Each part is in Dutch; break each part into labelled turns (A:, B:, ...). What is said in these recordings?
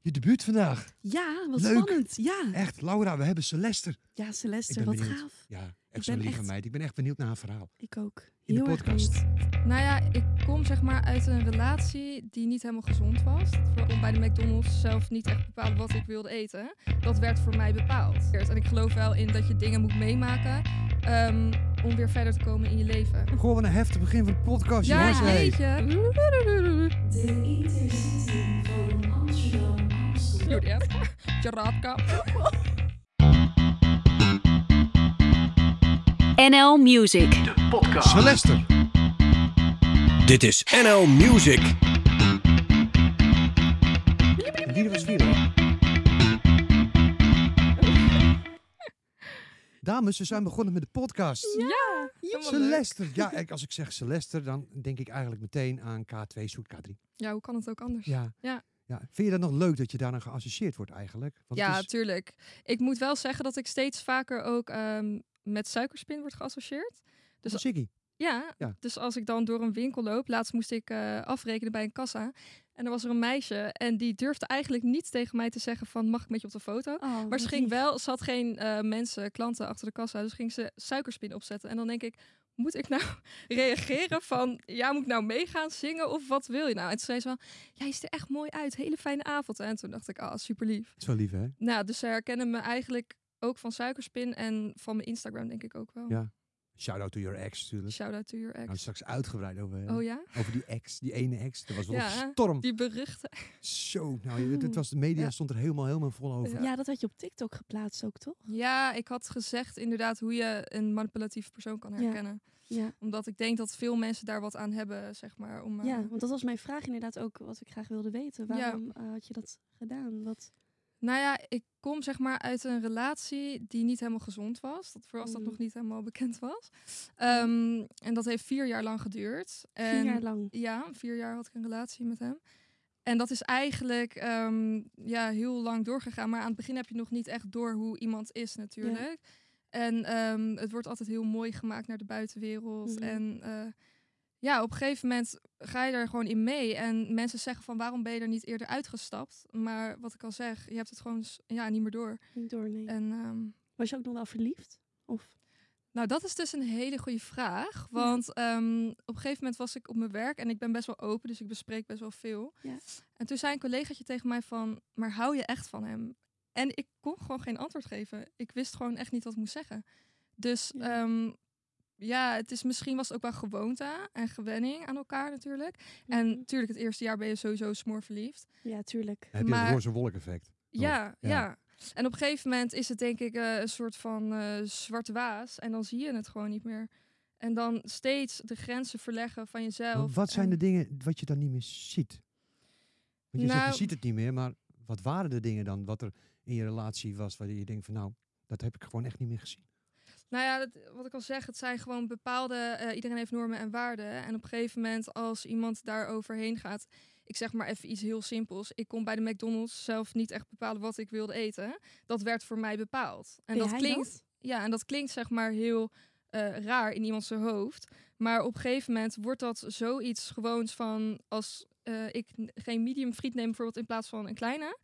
A: je debuut vandaag.
B: Ja, wat
A: Leuk.
B: spannend. Ja,
A: Echt, Laura, we hebben Celester.
B: ja Celeste,
A: ben
B: wat
A: benieuwd.
B: gaaf.
A: Ja,
B: ben
A: echt zo'n lieve
B: echt-
A: meid. Ik ben echt benieuwd naar haar verhaal.
B: Ik ook.
A: In de
B: Heel erg
A: podcast.
B: benieuwd.
C: Nou ja, ik kom zeg maar uit een relatie die niet helemaal gezond was. Waarom bij de McDonald's zelf niet echt bepaalde wat ik wilde eten. Dat werd voor mij bepaald. En ik geloof wel in dat je dingen moet meemaken ehm, om weer verder te komen in je leven.
A: Gewoon wat een heftig begin van de podcast,
C: Ja,
A: jongens. Hey.
C: jeetje.
D: De Intercity van Amsterdam Amstel.
C: Juliet. Jaradka.
E: NL Music.
A: Celester.
F: Dit is NL Music.
A: En die was vier, hè? Dames, we zijn begonnen met de podcast.
C: Ja.
A: Celester. Ja, ik- als ik zeg Celester, dan denk ik eigenlijk meteen aan K2 zoet K3.
C: Ja, hoe kan het ook anders?
A: Ja.
C: Ja.
A: ja. Vind je dat nog leuk dat je daarna geassocieerd wordt eigenlijk? Want
C: ja,
A: het is-
C: tuurlijk. Ik moet wel zeggen dat ik steeds vaker ook ehm, met suikerspin word geassocieerd. Dus
A: Ziggy.
C: Ja,
A: Ja.
C: dus als ik dan door een winkel loop, laatst moest ik eh, afrekenen bij een kassa. En er was er een meisje en die durfde eigenlijk niet tegen mij te zeggen van mag ik met je op de foto?
B: Oh,
C: Maar
B: wat
C: ze ging
B: lief.
C: wel, ze had geen eh, mensen, klanten achter de kassa, dus ging ze suikerspin opzetten. En dan denk ik, moet ik nou reageren van, ja, moet ik nou meegaan zingen of wat wil je nou? En toen zei ze wel, jij ziet er echt mooi uit, hele fijne avond. En toen dacht ik, ah, super lief.
A: Het is wel lief, hè?
C: Nou, dus ze herkennen me eigenlijk ook van suikerspin en van mijn Instagram denk ik ook wel.
A: Ja. Shout-out to your ex, natuurlijk.
C: Shout-out to your
A: Nou,
C: ex.
A: straks uitgebreid over, hè?
C: Oh ja?
A: over die ex, die ene ex. Er was wel
C: Ja,
A: een storm.
C: Die beruchte.
A: Zo, nou, je- dit was, de media
C: Ja.
A: stond er helemaal, helemaal vol over.
B: Ja, dat had je op TikTok geplaatst ook, toch?
C: Ja, ik had gezegd inderdaad hoe je een manipulatief persoon kan
B: Ja.
C: herkennen.
B: Ja.
C: Omdat ik denk dat veel mensen daar wat aan hebben, zeg maar. Om, eh,
B: Ja, want dat was mijn vraag inderdaad ook, wat ik graag wilde weten.
C: Ja.
B: Waarom eh, had je dat gedaan? Wat...
C: Nou ja, ik kom zeg maar uit een relatie die niet helemaal gezond was. Dat voor als dat
B: Mm.
C: nog niet helemaal bekend was. Ehm, en dat heeft vier jaar lang geduurd.
B: Vier
C: En-
B: jaar lang.
C: Ja, vier jaar had ik een relatie met hem. En dat is eigenlijk ehm, ja, heel lang doorgegaan. Maar aan het begin heb je nog niet echt door hoe iemand is natuurlijk. En ehm, het wordt altijd heel mooi gemaakt naar de buitenwereld.
B: Mhm.
C: En eh, ja, op een gegeven moment ga je er gewoon in mee. En mensen zeggen van waarom ben je er niet eerder uitgestapt? Maar wat ik al zeg, je hebt het gewoon s- ja, niet meer door.
B: Niet door, nee.
C: En ehm,
B: Was je ook nog wel verliefd? Of...
C: nou, dat is dus een hele goede vraag. Want ehm, op een gegeven moment was ik op mijn werk en ik ben best wel open, dus ik bespreek best wel veel.
B: Ja.
C: En toen zei een collegaatje tegen mij van, maar hou je echt van hem? En ik kon gewoon geen antwoord geven. Ik wist gewoon echt niet wat ik moest zeggen. Dus
B: Ja.
C: ja, ja het is, misschien was het ook wel gewoonte en gewenning aan elkaar natuurlijk. En
B: Mhm.
C: natuurlijk, het eerste jaar ben je sowieso smoorverliefd.
B: Ja, tuurlijk.
A: Heb je het
C: maar-
A: roze wolk effect?
C: Ja,
A: Oh, ja.
C: ja. En op een gegeven moment is het denk ik eh, een soort van eh, zwarte waas. En dan zie je het gewoon niet meer. En dan steeds de grenzen verleggen van
A: Maar
C: jezelf.
A: Wat zijn
C: en-
A: de dingen wat je dan niet meer ziet? Want je, zegt,
C: Nou-
A: je ziet het niet meer, maar wat waren de dingen dan wat er in je relatie was waar je denkt van nou, dat heb ik gewoon echt niet meer gezien.
C: Nou ja, dat, wat ik al zeg, het zijn gewoon bepaalde... eh, iedereen heeft normen en waarden. En op een gegeven moment als iemand daar overheen gaat... Ik zeg maar even iets heel simpels. Ik kon bij de McDonald's zelf niet echt bepalen wat ik wilde eten. Dat werd voor mij bepaald. En
B: Ben
C: dat
B: jij
C: klinkt...
B: dat?
C: Ja, en dat klinkt zeg maar heel eh, raar in iemands hoofd. Maar op een gegeven moment wordt dat zoiets gewoons van... als eh, ik n- geen medium friet neem bijvoorbeeld in plaats van een kleine...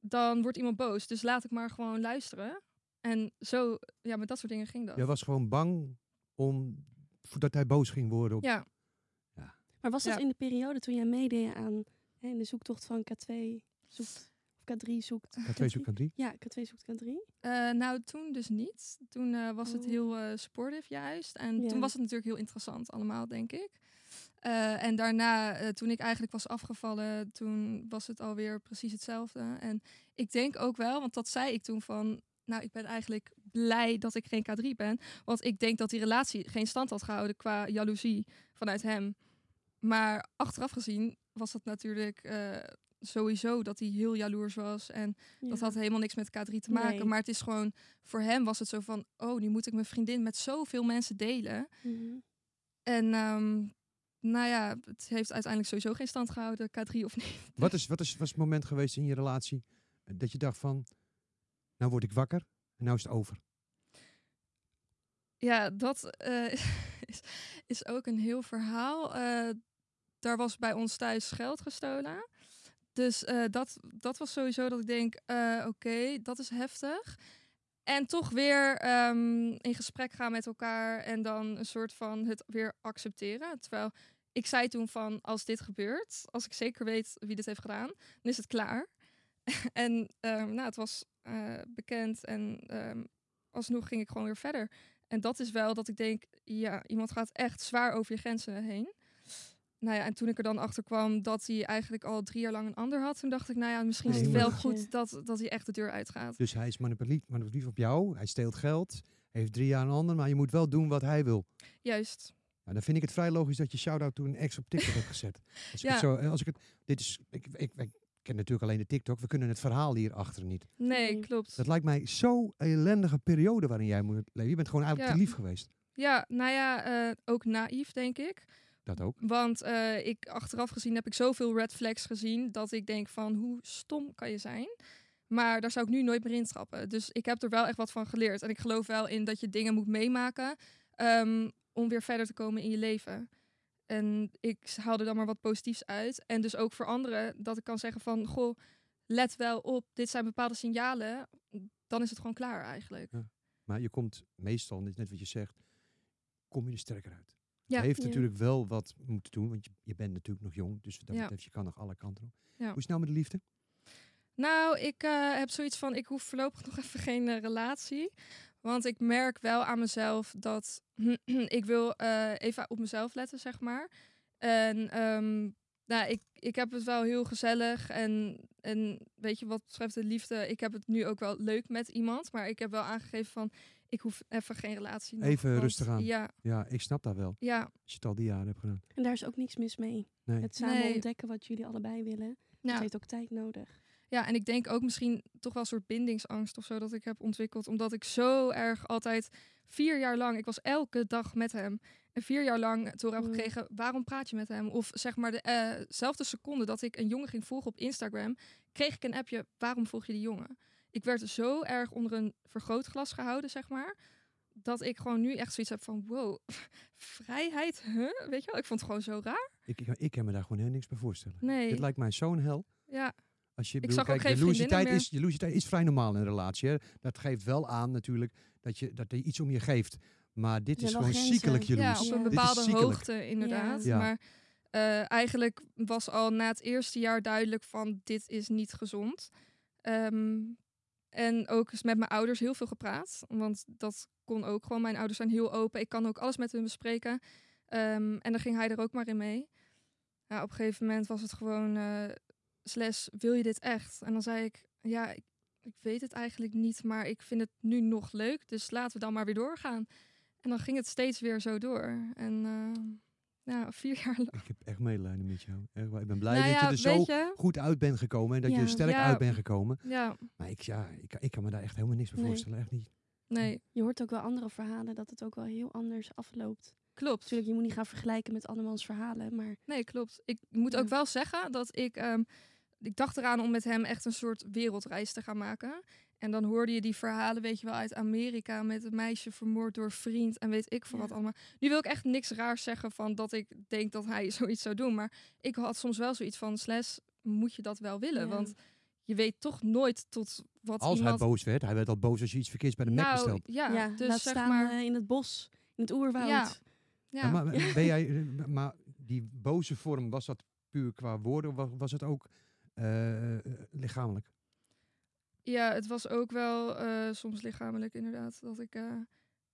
C: dan wordt iemand boos. Dus laat ik maar gewoon luisteren. En zo, ja, met dat soort dingen ging dat.
A: Jij was gewoon bang om dat hij boos ging worden. Op,
C: Ja,
B: Maar was dat
C: Ja.
B: in de periode toen jij meedeed aan hè, in de zoektocht van K2 zoekt... Of K3 zoekt...
A: K2 zoek K3.
B: Ja, K2 zoekt K3.
C: Eh, nou toen dus niet. Toen eh, was het
B: Oh.
C: heel eh supportive juist. En
B: Ja.
C: toen was het natuurlijk heel interessant allemaal, denk ik. Eh, en daarna, eh, toen ik eigenlijk was afgevallen, toen was het alweer precies hetzelfde. En ik denk ook wel, want dat zei ik toen van... Nou, ik ben eigenlijk blij dat ik geen K3 ben. Want ik denk dat die relatie geen stand had gehouden qua jaloezie vanuit hem. Maar achteraf gezien was dat natuurlijk eh, sowieso dat hij heel jaloers was. En
B: Ja.
C: dat had helemaal niks met K3 te maken.
B: Nee.
C: Maar het is gewoon, voor hem was het zo van, oh, nu moet ik mijn vriendin met zoveel mensen delen.
B: Mhm.
C: En ehm, nou ja, het heeft uiteindelijk sowieso geen stand gehouden, K3 of niet.
A: Wat is, wat is was het moment geweest in je relatie eh, dat je dacht van nou word ik wakker en nou is het over.
C: Ja, dat eh, is, is ook een heel verhaal. Eh, daar was bij ons thuis geld gestolen. Dus eh, dat, dat was sowieso dat ik denk, eh, oké, dat is heftig. En toch weer ehm, in gesprek gaan met elkaar en dan een soort van het weer accepteren. Terwijl ik zei toen van, als dit gebeurt, als ik zeker weet wie dit heeft gedaan, dan is het klaar. en ehm, nou, het was eh, bekend en ehm, alsnog ging ik gewoon weer verder. En dat is wel dat ik denk, ja, iemand gaat echt zwaar over je grenzen heen nou ja, en toen ik er dan achter kwam dat hij eigenlijk al drie jaar lang een ander had, toen dacht ik, nou ja, misschien is het
A: Nee,
C: wel
B: maar-
C: goed dat, dat hij echt de deur uitgaat.
A: Dus hij is manipulatief, manipulatief op jou. Hij steelt geld. Hij heeft drie jaar een ander. Maar je moet wel doen wat hij wil.
C: Juist.
A: Nou, dan vind ik het vrij logisch dat je shout-out toen een ex op TikTok hebt gezet. Als ik
C: Ja.
A: het zo, eh, als ik het, dit is, ik, ik, ik ken natuurlijk alleen de TikTok. We kunnen het verhaal hierachter niet.
C: Nee,
B: Nee.
C: klopt.
A: Dat lijkt mij zo'n ellendige periode waarin jij moet leven. Je bent gewoon eigenlijk
C: Ja.
A: te lief geweest.
C: Ja, nou ja, eh, ook naïef, denk ik.
A: Dat ook.
C: Want eh, ik, achteraf gezien heb ik zoveel red flags gezien dat ik denk van hoe stom kan je zijn. Maar daar zou ik nu nooit meer in trappen. Dus ik heb er wel echt wat van geleerd. En ik geloof wel in dat je dingen moet meemaken ehm, om weer verder te komen in je leven. En ik haalde dan maar wat positiefs uit. En dus ook voor anderen dat ik kan zeggen van goh, let wel op, dit zijn bepaalde signalen. Dan is het gewoon klaar eigenlijk.
A: Maar je komt meestal, en dit is net wat je zegt, kom je er sterker uit.
C: Ja.
A: je heeft
B: Ja.
A: natuurlijk wel wat moeten doen, want je, je bent natuurlijk nog jong. Dus wat dat
C: Ja.
A: betreft, je kan nog alle kanten op.
C: Ja.
A: Hoe is het nou met de liefde?
C: Nou, ik eh, heb zoiets van, ik hoef voorlopig nog even geen eh, relatie. Want ik merk wel aan mezelf dat ik wil eh, even op mezelf letten, zeg maar. En ehm, nou, ik, ik heb het wel heel gezellig. En, en weet je, wat betreft de liefde, ik heb het nu ook wel leuk met iemand. Maar ik heb wel aangegeven van, ik hoef even geen relatie. nog,
A: Even
C: want-
A: rustig aan.
C: Ja,
A: Ja, ik snap dat wel. Als
C: ja.
A: je het al die jaren hebt gedaan.
B: En daar is ook niks mis mee.
A: Nee.
B: Het samen
C: Nee.
B: ontdekken wat jullie allebei willen. Dat
C: Nou,
B: heeft ook tijd nodig.
C: Ja, en ik denk ook misschien toch wel een soort bindingsangst of zo dat ik heb ontwikkeld. Omdat ik zo erg altijd vier jaar lang, ik was elke dag met hem. En vier jaar lang te horen heb
B: Wow.
C: gekregen, waarom praat je met hem? Of zeg maar dezelfde seconde dat ik een jongen ging volgen op Instagram, kreeg ik een appje, waarom volg je die jongen? Ik werd zo erg onder een vergrootglas gehouden, zeg maar. Dat ik gewoon nu echt zoiets heb van, wow, vrijheid, huh? Weet je wel, ik vond het gewoon zo raar.
A: Ik, ik, ik kan me daar gewoon helemaal niks bij voorstellen.
C: Nee,
A: Dit lijkt mij zo'n hel.
C: ja,
A: Als je,
C: zag
A: bedoel,
C: ook
A: kijk,
C: geen
A: jaloezietijd
C: vriendinnen
A: is, jaloezietijd is vrij normaal in een relatie. Hè. Dat geeft wel aan natuurlijk dat je, dat er iets om je geeft. Maar dit
B: Er zijn
A: is
B: wel
A: gewoon
B: grenzen.
A: ziekelijk
C: Ja,
A: jaloers.
C: op
B: Ja.
C: een
B: Dit is
C: bepaalde
A: ziekelijk.
C: hoogte inderdaad.
A: Ja.
C: Maar eh, eigenlijk was al na het eerste jaar duidelijk van dit is niet gezond. Ehm, en ook eens met mijn ouders heel veel gepraat. Want dat kon ook gewoon. Mijn ouders zijn heel open. Ik kan ook alles met hun bespreken. Ehm, en dan ging hij er ook maar in mee. Ja, op een gegeven moment was het gewoon... eh slash, wil je dit echt? En dan zei ik, ja, ik, ik weet het eigenlijk niet. Maar ik vind het nu nog leuk. Dus laten we dan maar weer doorgaan. En dan ging het steeds weer zo door. En eh, ja, vier jaar lang.
A: Ik heb echt medelijden met jou. Echt waar. Ik ben blij
C: nou
A: dat
C: ja,
A: je er zo
C: weet je?
A: goed uit bent gekomen. En dat je
B: Ja.
A: er sterk
C: Ja.
A: uit bent gekomen.
C: Ja,
A: Maar ik, ja, ik, ik kan me daar echt helemaal niks bij
B: Nee.
A: voorstellen. Echt niet.
C: nee,
B: Je hoort ook wel andere verhalen dat het ook wel heel anders afloopt.
C: klopt.
B: Natuurlijk, je moet niet gaan vergelijken met andermans verhalen. Maar
C: Nee, klopt. Ik moet ook
B: Ja.
C: wel zeggen dat ik... ehm, ik dacht eraan om met hem echt een soort wereldreis te gaan maken. En dan hoorde je die verhalen, weet je wel, uit Amerika... met een meisje vermoord door een vriend en weet ik veel wat
B: Ja.
C: allemaal. Nu wil ik echt niks raars zeggen van dat ik denk dat hij zoiets zou doen. Maar ik had soms wel zoiets van... Slash, moet je dat wel willen?
B: Ja.
C: Want je weet toch nooit tot wat
A: Als
C: iemand...
A: hij boos werd. Hij werd al boos als je iets verkeerds bij de Mac
C: nou,
A: bestelt.
C: ja,
B: ja,
C: dus
B: laat
C: zeg
B: staan
C: maar...
B: eh, in het bos, in het oerwoud.
C: Ja. ja.
A: Maar, ben jij, eh, maar die boze vorm, was dat puur qua woorden? Of was, was het ook eh, lichamelijk?
C: Ja, het was ook wel eh, soms lichamelijk inderdaad. Dat ik eh,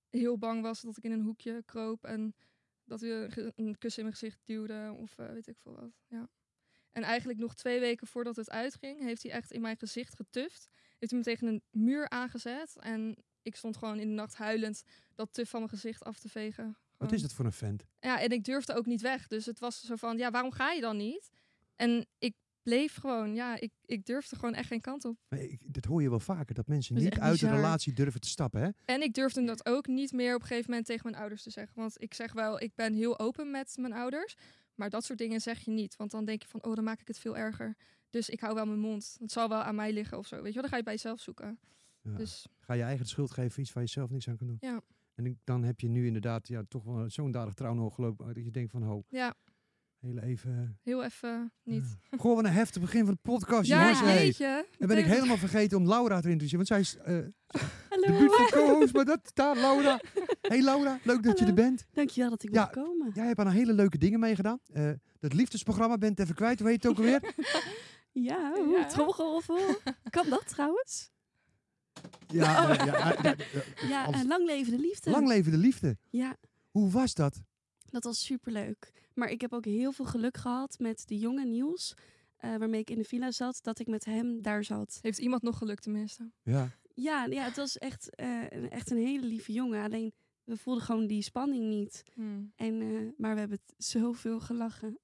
C: heel bang was dat ik in een hoekje kroop en dat we een ge- een kus in mijn gezicht duwde of eh, weet ik veel wat. Ja. En eigenlijk nog twee weken voordat het uitging, heeft hij echt in mijn gezicht getuft. Heeft hij me tegen een muur aangezet en ik stond gewoon in de nacht huilend dat tuf van mijn gezicht af te vegen.
A: Wat
C: Gewoon.
A: is dat voor een vent?
C: Ja, en ik durfde ook niet weg. Dus het was zo van, ja, waarom ga je dan niet? En ik bleef gewoon, ja, ik, ik durfde gewoon echt geen kant op.
A: Maar ik, dat hoor je wel vaker, dat mensen
B: Dat is
A: niet
B: echt
A: uit een
B: bizar.
A: relatie durven te stappen. Hè?
C: En ik durfde dat ook niet meer op een gegeven moment tegen mijn ouders te zeggen. Want ik zeg wel, ik ben heel open met mijn ouders. Maar dat soort dingen zeg je niet. Want dan denk je van, oh, dan maak ik het veel erger. Dus ik hou wel mijn mond. Het zal wel aan mij liggen of zo. Weet je wel, dan ga je het bij jezelf zoeken.
A: Ja.
C: Dus
A: Ga je eigen de schuld geven voor iets waar je zelf niks aan kan doen.
C: Ja.
A: En ik- dan heb je nu inderdaad ja, toch wel zo'n dadig trouwen gelopen. Dat je denkt van, ho,
C: ja,
A: Heel even. eh.
C: Heel even niet.
A: Goh, wat een heftig begin van de podcast,
C: Ja,
A: Oh, jongens. Hey.
C: jeetje.
A: En ben ik
C: Meteen-
A: helemaal vergeten om Laura te introduceren. Want zij is eh de
B: Hallo,
A: buurt van co-host, maar dat daar, Laura. Hey Laura, leuk dat je er
B: Hallo.
A: bent.
B: dankjewel dat ik
A: Ja,
B: mocht komen.
A: Jij hebt aan hele leuke dingen meegedaan. Eh, dat liefdesprogramma bent even kwijt, hoe heet het ook alweer?
B: Ja, hoe
C: Ja.
B: tromgeroffel. kan dat trouwens?
A: Ja,
C: Oh.
A: eh, ja, eh, eh, eh,
B: Ja,
A: Als-
B: en lang leven de
C: eh,
B: liefde.
A: lang leven de liefde.
B: Ja,
A: Hoe was dat?
B: dat was superleuk. Maar ik heb ook heel veel geluk gehad met die jonge Niels, eh, waarmee ik in de villa zat, dat ik met hem daar zat.
C: Heeft iemand nog geluk tenminste?
A: Ja,
B: Ja, ja het was echt, eh, een- echt een hele lieve jongen. Alleen, we voelden gewoon die spanning niet.
C: Hmm.
B: En, eh, maar we hebben het zoveel gelachen.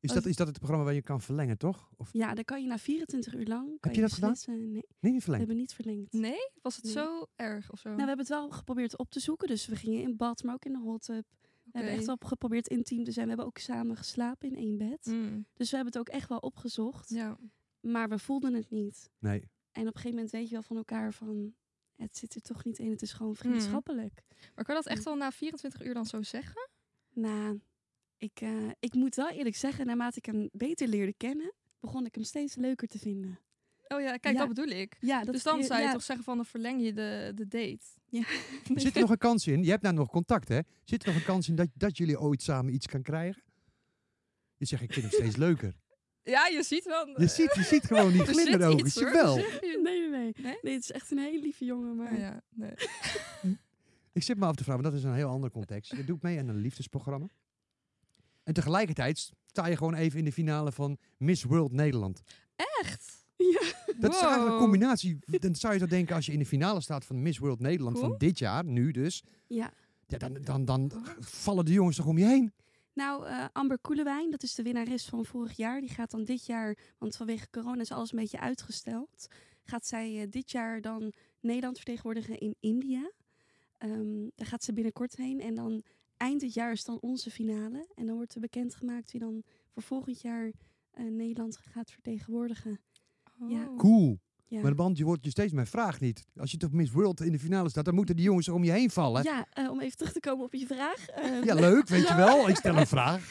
A: is,
C: Oh.
A: dat, is dat het programma waar je kan verlengen, toch? Of
B: Ja, dan kan je na 24 uur lang... kan
A: je dat gedaan?
B: beslissen. Nee,
A: nee, niet
B: we
A: verlengen?
B: hebben niet verlengd.
C: Nee? Was het
B: Nee.
C: zo erg of zo?
B: Nou, we hebben het wel geprobeerd op te zoeken. Dus we gingen in bad, maar ook in de hot tub. We hebben
C: Oké.
B: echt wel geprobeerd intiem te zijn. We hebben ook samen geslapen in één bed.
C: Hmm.
B: Dus we hebben het ook echt wel opgezocht.
C: Ja.
B: Maar we voelden het niet.
A: Nee.
B: En op een gegeven moment weet je wel van elkaar van... Het zit er toch niet in. Het is
C: Mm.
B: gewoon vriendschappelijk.
C: Maar kan je dat echt wel na 24 uur dan zo zeggen?
B: Nou, ik, eh, ik moet wel eerlijk zeggen... Naarmate ik hem beter leerde kennen... begon ik hem steeds leuker te vinden.
C: Oh ja, kijk,
B: Ja.
C: dat bedoel ik.
B: Ja, dat
C: dus dan zou je
B: ja,
C: toch zeggen van dan verleng je de, de date.
A: Er Zit er nog een kans in? Je hebt daar nog contact, hè? Zit er nog een kans in dat, dat jullie ooit samen iets gaan krijgen? Je zegt, ik vind hem steeds leuker.
C: Ja, je ziet wel.
A: Je ziet, je ziet gewoon die
C: Er zit
A: glinderogen.
C: iets,
A: Zie je
C: hoor.
A: wel.
C: Er zit iets.
B: Nee, nee, nee.
C: Nee?
B: Nee, het is echt een hele lieve jongen. Maar
C: Oh ja, nee.
A: Ik zit me af te vragen, want dat is een heel ander context. Je doet mee aan een liefdesprogramma. En tegelijkertijd sta je gewoon even in de finale van Miss World Nederland.
C: Echt?
B: Ja.
A: Dat is eigenlijk een
C: Wow.
A: combinatie. Dan zou je zo denken, als je in de finale staat van Miss World Nederland van
C: Cool.
A: dit jaar, nu dus.
B: ja.
A: Ja, dan, dan, dan vallen de jongens toch om je heen.
B: Nou, eh, Amber Koelewijn, dat is de winnares van vorig jaar. Die gaat dan dit jaar, want vanwege corona is alles een beetje uitgesteld. Gaat zij eh, dit jaar dan Nederland vertegenwoordigen in India. Ehm, daar gaat ze binnenkort heen. En dan eind dit jaar is dan onze finale. En dan wordt er bekendgemaakt wie dan voor volgend jaar eh, Nederland gaat vertegenwoordigen. Ja.
C: Oh.
A: Cool.
B: Ja,
A: Maar de band, je wordt je steeds mijn vraag niet. Als je toch Miss World in de finale staat, dan moeten die jongens om je heen vallen. Ja,
B: ja eh, om even terug te komen op je vraag. eh,
A: leuk, weet je wel. Ik stel een vraag.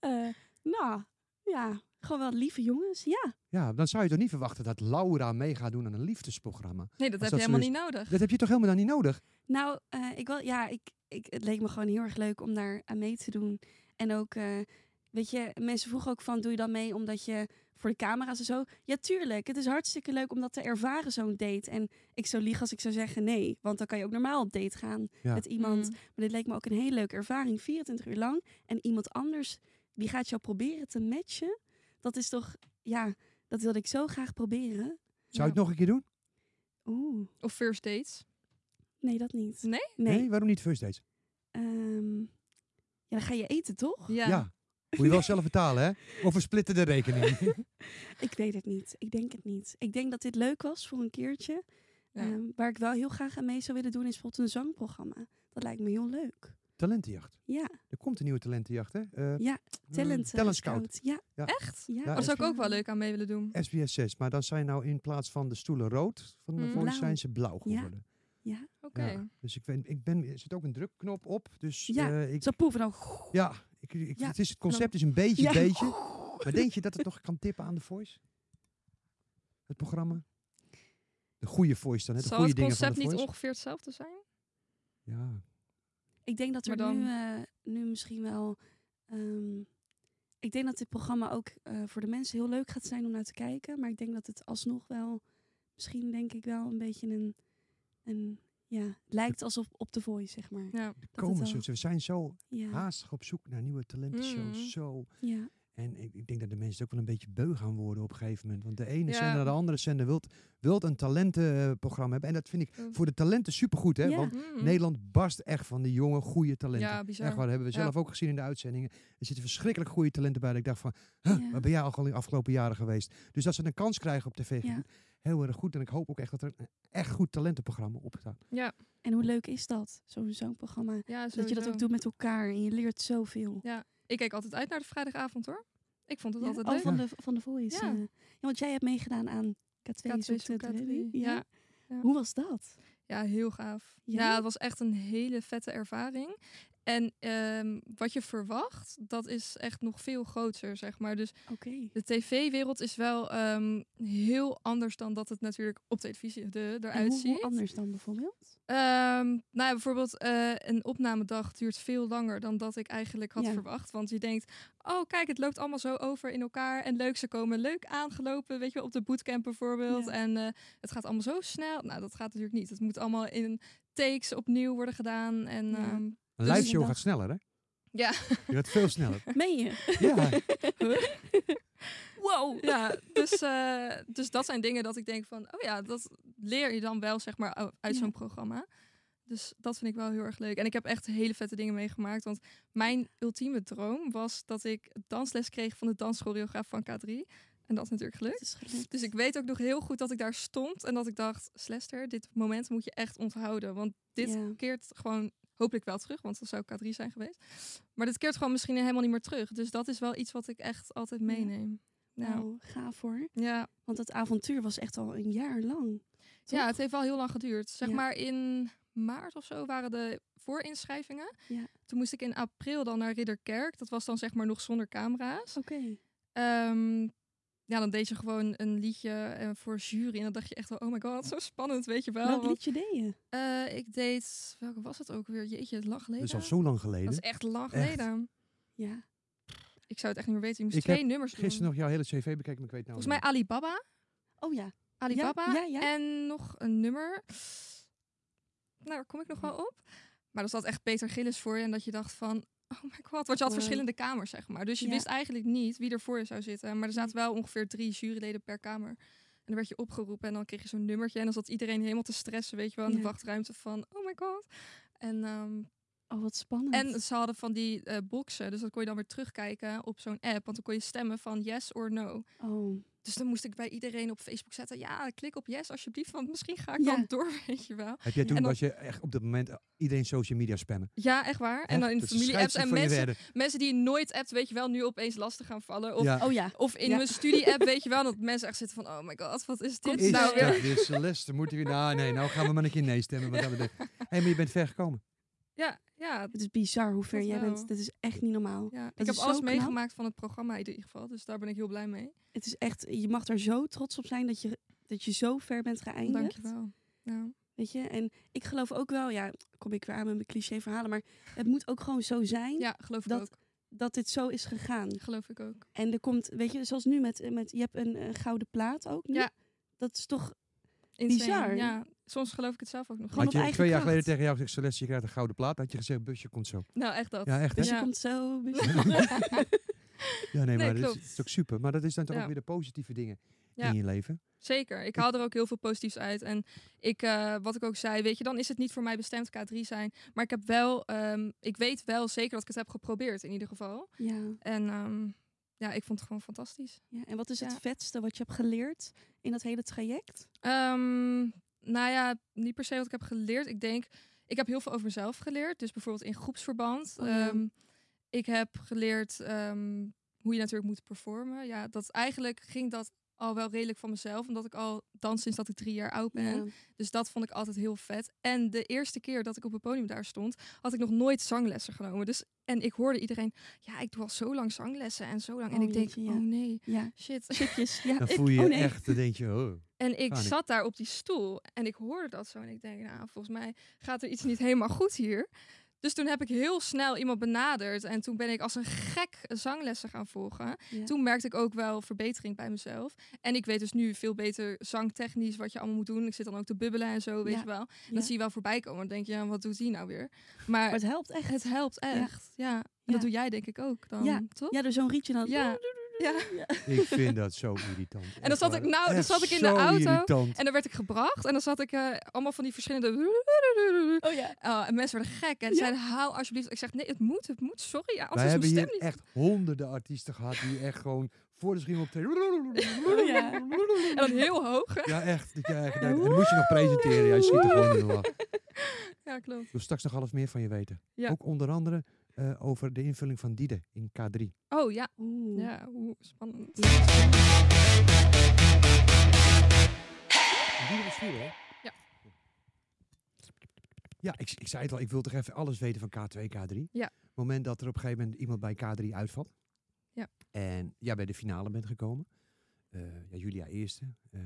B: eh, nou, ja, gewoon wel lieve jongens. Ja,
A: Ja, dan zou je toch niet verwachten dat Laura mee gaat doen aan een liefdesprogramma.
C: Nee,
A: Als
C: dat heb je
A: dat zo
C: helemaal
A: is-
C: niet nodig.
A: Dat heb je toch helemaal dan niet nodig?
B: Nou, eh, ik wel, ja, ik, ik, het leek me gewoon heel erg leuk om daar aan mee te doen. En ook, eh, weet je, mensen vroegen ook van, doe je dan mee omdat je voor de camera's en zo? Ja, tuurlijk. Het is hartstikke leuk om dat te ervaren, zo'n date. En ik zou liegen als ik zou zeggen nee, want dan kan je ook normaal op date gaan
A: Ja.
B: met iemand.
C: Mm.
B: Maar dit leek me ook een hele leuke ervaring, 24 uur lang. En iemand anders, die gaat jou proberen te matchen. Dat is toch, ja, dat wilde ik zo graag proberen.
A: Zou je het nog een keer doen?
B: Oeh,
C: Of first dates.
B: nee, dat niet.
C: Nee?
B: Nee.
A: waarom niet first dates?
B: Ehm, ja, dan ga je eten, toch?
C: Ja.
A: Ja. Moet je wel zelf betalen, hè? Of we splitten de rekening.
B: Ik weet het niet. Ik denk het niet. Ik denk dat dit leuk was voor een keertje.
C: Ja.
B: Ehm, waar ik wel heel graag aan mee zou willen doen, is bijvoorbeeld een zangprogramma. Dat lijkt me heel leuk.
A: talentenjacht.
B: Ja,
A: Er komt een nieuwe talentenjacht, hè? Eh,
B: Ja,
A: eh,
B: talent, eh,
A: talent scout.
B: Ja,
C: Echt?
B: ja.
A: Ja,
C: Daar zou ik
B: eh,
C: ook wel leuk aan mee willen doen.
A: SBS 6. Maar dan zijn nou in plaats van de stoelen rood, van de
C: Mm.
A: voice
B: Blauw.
A: zijn ze blauw
B: Ja.
A: geworden.
B: Ja.
C: Oké.
A: Ja. Dus ik ben, ik ben, er zit ook een drukknop op. Dus
B: Ja,
A: eh, ik,
B: Zo proeven dan.
A: ja, ik, ik-
B: Ja,
A: Het, is, het concept is een beetje,
B: Ja.
A: beetje. Maar denk je dat het nog kan tippen aan de voice? Het programma? De goede voice dan, hè? De
C: Zal
A: goede
C: het
A: dingen van
C: concept
A: de
C: niet
A: voice.
C: ongeveer hetzelfde zijn?
A: ja.
B: Ik denk dat er
C: Maar dan-
B: nu, eh, nu misschien wel... ehm, ik denk dat dit programma ook eh, voor de mensen heel leuk gaat zijn om naar te kijken. Maar ik denk dat het alsnog wel... Misschien denk ik wel een beetje een... een ja, het lijkt alsof op de voice, zeg maar.
C: Ja.
A: Er
B: het
A: komen
B: wel-
A: ze. We zijn zo
B: Ja,
A: haastig op zoek naar nieuwe talentenshows.
C: Mm.
A: Zo.
B: ja.
A: En ik, ik denk dat de mensen het ook wel een beetje beu gaan worden op een gegeven moment. Want de ene
C: Ja.
A: zender naar de andere zender wilt, wilt een talentenprogramma hebben. En dat vind ik
C: Ja.
A: voor de talenten supergoed. Hè?
B: Ja.
A: Want
C: Mm.
A: Nederland barst echt van de jonge, goede talenten.
C: Ja, bizar.
A: Echt waar, dat hebben we
C: Ja.
A: zelf ook gezien in de uitzendingen. Er zitten verschrikkelijk goede talenten bij. dat ik dacht van, huh,
B: Ja.
A: waar ben jij al de afgelopen jaren geweest? Dus dat ze een kans krijgen op tv,
B: Ja.
A: heel erg goed. En ik hoop ook echt dat er een echt goed talentenprogramma op staat.
C: Ja,
B: En hoe leuk is dat, zo'n programma?
C: ja
B: Dat je dat ook
C: sowieso.
B: doet met elkaar en je leert zoveel.
C: Ik keek altijd uit naar de vrijdagavond hoor. Ik vond het
B: Ja,
C: altijd
B: al
C: leuk.
B: van de, van de voice.
C: Ja.
B: eh. Ja, want jij hebt meegedaan aan K2
C: K2
B: zoekt
C: zoekt
B: het
C: K2,
B: René.
C: ja. Ja.
B: Hoe was dat?
C: Ja, heel gaaf.
B: Ja?
C: Ja? het was echt een hele vette ervaring. En ehm, wat je verwacht, dat is echt nog veel groter, zeg maar. Dus
B: Oké.
C: de tv-wereld is wel ehm, heel anders dan dat het natuurlijk op televisie de,
B: En
C: eruit
B: hoe, hoe
C: ziet.
B: anders dan bijvoorbeeld?
C: Ehm, nou ja, bijvoorbeeld eh, een opnamedag duurt veel langer dan dat ik eigenlijk had
B: Ja.
C: verwacht. Want je denkt, oh kijk, het loopt allemaal zo over in elkaar. En leuk, ze komen leuk aangelopen, weet je wel, op de bootcamp bijvoorbeeld.
B: Ja.
C: En eh, het gaat allemaal zo snel. Nou, dat gaat natuurlijk niet. Het moet allemaal in takes opnieuw worden gedaan. En
B: Ja.
C: ehm,
A: Een
C: Dus
A: live show
B: inderdaad.
A: gaat sneller, hè?
C: Ja.
A: Je gaat veel sneller.
B: Meen je?
A: ja.
B: Wow.
C: ja, dus, eh, dus dat zijn dingen dat ik denk van, oh ja, dat leer je dan wel zeg maar ou- uit
B: Ja.
C: zo'n programma. Dus dat vind ik wel heel erg leuk. En ik heb echt hele vette dingen meegemaakt. Want mijn ultieme droom was dat ik dansles kreeg van de danschoreograaf van K3. En dat is natuurlijk gelukt.
B: Het is gelukt.
C: Dus ik weet ook nog heel goed dat ik daar stond. En dat ik dacht, Slester, dit moment moet je echt onthouden. Want dit
B: Ja.
C: keert gewoon hopelijk wel terug. Want dan zou ik K3 zijn geweest. Maar dit keert gewoon misschien helemaal niet meer terug. Dus dat is wel iets wat ik echt altijd meeneem. Nou,
B: Nou, gaaf hoor.
C: ja.
B: Want dat avontuur was echt al een jaar lang.
C: Ja,
B: toch?
C: het heeft wel heel lang geduurd. Zeg
B: Ja.
C: maar in maart of zo waren de voorinschrijvingen.
B: Ja.
C: Toen moest ik in april dan naar Ridderkerk. Dat was dan zeg maar nog zonder camera's.
B: Oké.
C: Ehm, ja, dan deed je gewoon een liedje eh, voor jury. En dan dacht je echt wel, oh my god, zo spannend, weet je wel.
B: Welk
C: Want,
B: liedje deed je?
C: eh, ik deed, welke was het ook weer? Jeetje, het lang
A: Dat
C: geleden.
A: is al zo lang geleden.
C: Dat is echt lang
A: Echt.
C: geleden.
B: Ja.
C: Ik zou het echt niet meer weten. Je moest
A: Ik heb
C: twee nummers doen.
A: Gisteren nog jouw hele cv bekeken, maar ik weet nou
C: Volgens mij Alibaba.
B: Oh ja.
C: Alibaba
B: Ja, ja, ja.
C: en nog een nummer. Nou, daar kom ik nog wel op. Maar er zat echt Peter Gillis voor je en dat je dacht van... Oh my god, want je had
B: Wow.
C: verschillende kamers, zeg maar. Dus je
B: Ja.
C: wist eigenlijk niet wie er voor je zou zitten. Maar er zaten wel ongeveer drie juryleden per kamer. En dan werd je opgeroepen en dan kreeg je zo'n nummertje. En dan zat iedereen helemaal te stressen, weet je wel, in de
B: Ja.
C: wachtruimte van... Oh my god. En, ehm,
B: Oh, wat spannend.
C: en ze hadden van die eh, boxen, dus dat kon je dan weer terugkijken op zo'n app. Want dan kon je stemmen van yes or no.
B: oh,
C: Dus dan moest ik bij iedereen op Facebook zetten. Ja, klik op yes alsjeblieft, want misschien ga ik
B: Ja.
C: dan door, weet je wel.
A: Heb jij toen,
C: En dan-
A: was je echt op dat moment eh, iedereen social media spammen?
C: Ja, echt waar. En
A: Echt?
C: dan in
A: Dat scheidt
C: familie-apps.
A: zich
C: En
A: van je
C: mensen,
A: werden.
C: mensen die je nooit appt, weet je wel, nu opeens lastig gaan vallen. Of,
A: Ja.
B: oh ja.
C: of in
B: Ja.
C: mijn studie-app, weet je wel, dat mensen echt zitten van... Oh my god, wat is dit
A: Is
C: nou
A: nou,
C: weer?
A: dat weer Celeste? Moeten we... Nou, nee, nou gaan we maar een keer nee stemmen. want dat betekent- Hé, maar je bent ver gekomen.
C: Ja, ja.
B: Het is bizar hoe ver
C: Dat
B: jij
C: wel.
B: bent. Dat is echt niet normaal.
C: ja. Ik
B: is
C: heb
B: zo
C: alles
B: knap.
C: meegemaakt van het programma in ieder geval. Dus daar ben ik heel blij mee.
B: Het is echt, je mag er zo trots op zijn dat je, dat je zo ver bent geëindigd.
C: Dankjewel. Ja.
B: Weet je, en ik geloof ook wel, ja, kom ik weer aan met mijn cliché verhalen, maar het moet ook gewoon zo zijn
C: ja, geloof ik
B: Dat-
C: ook.
B: dat dit zo is gegaan.
C: Geloof ik ook.
B: En er komt, weet je, zoals nu met, met je hebt een eh, gouden plaat ook nu.
C: Ja.
B: Dat is toch,
C: Insane.
B: Bizar.
C: Ja, soms geloof ik het zelf ook nog.
B: Gewoon
A: Had
B: op
A: je twee
B: eigen
A: jaar geleden
B: kracht.
A: tegen jou gezegd, Celeste, je krijgt een gouden plaat. Had je gezegd, busje komt zo.
C: niet. Nou, echt dat.
A: Ja, echt hè?
B: dus
C: Ja.
B: je komt zo.
A: Ja, nee,
C: Nee,
A: maar dat is,
C: klopt.
A: dat is ook super. Maar dat is dan toch
C: Ja.
A: ook weer de positieve dingen
C: Ja.
A: in je leven.
C: Zeker. Ik haal er ook heel veel positiefs uit. En ik, eh, wat ik ook zei, weet je, dan is het niet voor mij bestemd K3 zijn. Maar ik heb wel, ehm, ik weet wel zeker dat ik het heb geprobeerd in ieder geval.
B: ja.
C: En ehm, ja, ik vond het gewoon fantastisch.
B: ja. En wat is het
C: Ja.
B: vetste wat je hebt geleerd in dat hele traject?
C: Ehm, nou ja, niet per se wat ik heb geleerd. Ik denk, ik heb heel veel over mezelf geleerd. Dus bijvoorbeeld in groepsverband.
B: Oh ja.
C: Ehm, ik heb geleerd ehm, hoe je natuurlijk moet performen. Ja, dat eigenlijk ging dat al wel redelijk van mezelf. Omdat ik al dans sinds dat ik drie jaar oud ben.
B: Ja.
C: Dus dat vond ik altijd heel vet. En de eerste keer dat ik op het podium daar stond, had ik nog nooit zanglessen genomen. Dus, en ik hoorde iedereen, ja, ik doe al zo lang zanglessen en zo lang. en
B: Oh,
C: ik denk,
B: jeetje, ja.
C: oh nee,
B: ja.
C: shit.
B: Chipjes, ja.
A: Dan
C: Ik-
A: voel je
B: oh
A: je
B: nee.
A: echt, dan denk je, oh.
C: En ik
A: Paniek.
C: zat daar op die stoel en ik hoorde dat zo. En ik denk, nou, volgens mij gaat er iets niet helemaal goed hier. Dus toen heb ik heel snel iemand benaderd. En toen ben ik als een gek zanglessen gaan volgen.
B: Ja.
C: Toen merkte ik ook wel verbetering bij mezelf. En ik weet dus nu veel beter zangtechnisch wat je allemaal moet doen. Ik zit dan ook te bubbelen en zo, weet
B: Ja.
C: je wel. En
B: Ja.
C: Dat zie je wel voorbij komen. Dan denk je, ja, wat doet die nou weer? Maar
B: Maar
C: het,
B: het helpt echt.
C: helpt echt. Ja. En
B: Ja.
C: dat doe jij denk ik ook dan,
B: Ja.
C: toch?
B: Ja, door zo'n rietje dan.
C: Ja. Ja.
A: Ik vind dat zo irritant.
C: En dan zat ik, nou, dan zat ik in de auto. En dan werd ik gebracht. En dan zat ik eh, allemaal van die verschillende...
B: Oh ja.
C: Oh, en mensen werden gek. En
B: Ja.
C: zeiden, hou alsjeblieft. Ik zeg, nee, het moet, het moet. Sorry, ja,
A: Wij
C: anders
A: hebben
C: is mijn
A: hier
C: stem niet.
A: echt honderden artiesten gehad die echt gewoon voor de schimmel op
B: Oh
A: tv.
B: ja.
C: En dan heel hoog. hè?
A: Ja, echt. Dat je eigenlijk denkt, en dan moet je nog presenteren. Jij schiet er gewoon in de lach. Ik
C: Ja, klopt.
A: wil straks nog half meer van je weten.
C: Ja.
A: Ook onder andere eh, over de invulling van Diede in K3.
C: Oh ja.
B: Oeh.
C: Ja, oeh, spannend.
A: Diede was vuur, hè?
C: Ja.
A: Ja, ik, ik zei het al, ik wil toch even alles weten van K2, K3.
C: Ja.
A: Het moment dat er op een gegeven moment iemand bij K3 uitvalt.
C: Ja.
A: En jij bij de finale bent gekomen. Eh, ja, Julia eerste, eh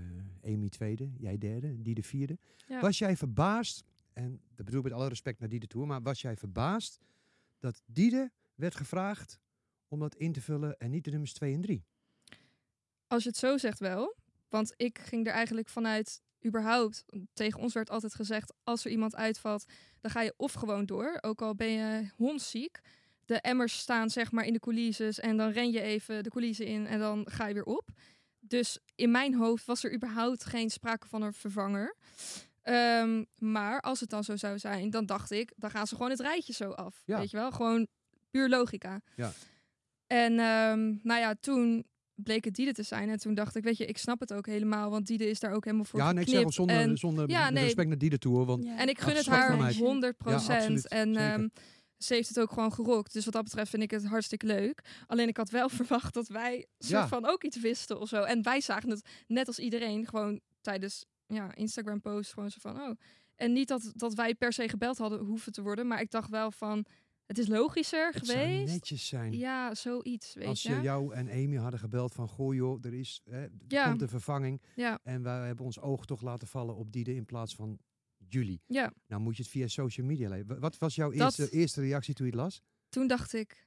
A: Amy tweede, jij derde, die de vierde.
C: Ja.
A: Was jij verbaasd, en dat bedoel ik met alle respect naar die de Tour, maar was jij verbaasd dat Diede werd gevraagd om dat in te vullen en niet de nummers 2 en 3?
C: Als je het zo zegt wel. Want ik ging er eigenlijk vanuit, überhaupt, tegen ons werd altijd gezegd, als er iemand uitvalt, dan ga je of gewoon door, ook al ben je hondziek. De emmers staan zeg maar in de coulisses en dan ren je even de coulissen in en dan ga je weer op. Dus in mijn hoofd was er überhaupt geen sprake van een vervanger. Ehm, maar als het dan zo zou zijn, dan dacht ik, dan gaan ze gewoon het rijtje zo af.
A: Ja.
C: Weet je wel, gewoon puur logica.
A: Ja.
C: En ehm, nou ja, toen bleek het Diede te zijn. En toen dacht ik, weet je, ik snap het ook helemaal. Want Diede is daar ook helemaal voor
A: Ja, nee, ik zeg
C: geknipt.
A: al zonder,
C: en,
A: zonder
C: ja, nee.
A: respect naar Diede toe hoor, want
B: Ja.
C: en ik gun het
A: Afstand van
C: haar
A: mij.
C: 100
A: Ja, absoluut,
C: en
A: zeker.
C: ehm, ze heeft het ook gewoon gerokt. Dus wat dat betreft vind ik het hartstikke leuk. Alleen ik had wel verwacht dat wij soort
A: Ja.
C: van ook iets wisten of zo. En wij zagen het net als iedereen gewoon tijdens ja, Instagram posts gewoon zo van oh. En niet dat, dat wij per se gebeld hadden hoeven te worden. Maar ik dacht wel van het is logischer
A: het zou
C: geweest.
A: netjes zijn.
C: Ja, zoiets. Weet
A: Als
C: je?
A: je jou en Amy hadden gebeld van, goh joh, er is, hè, er
C: Ja.
A: komt een vervanging.
C: Ja.
A: En wij hebben ons oog toch laten vallen op Diede in plaats van jullie.
C: ja.
A: Nou moet je het via social media lezen. Wa- Wat was jouw
C: Dat-
A: eerste, eerste reactie toen je het las?
C: toen dacht ik,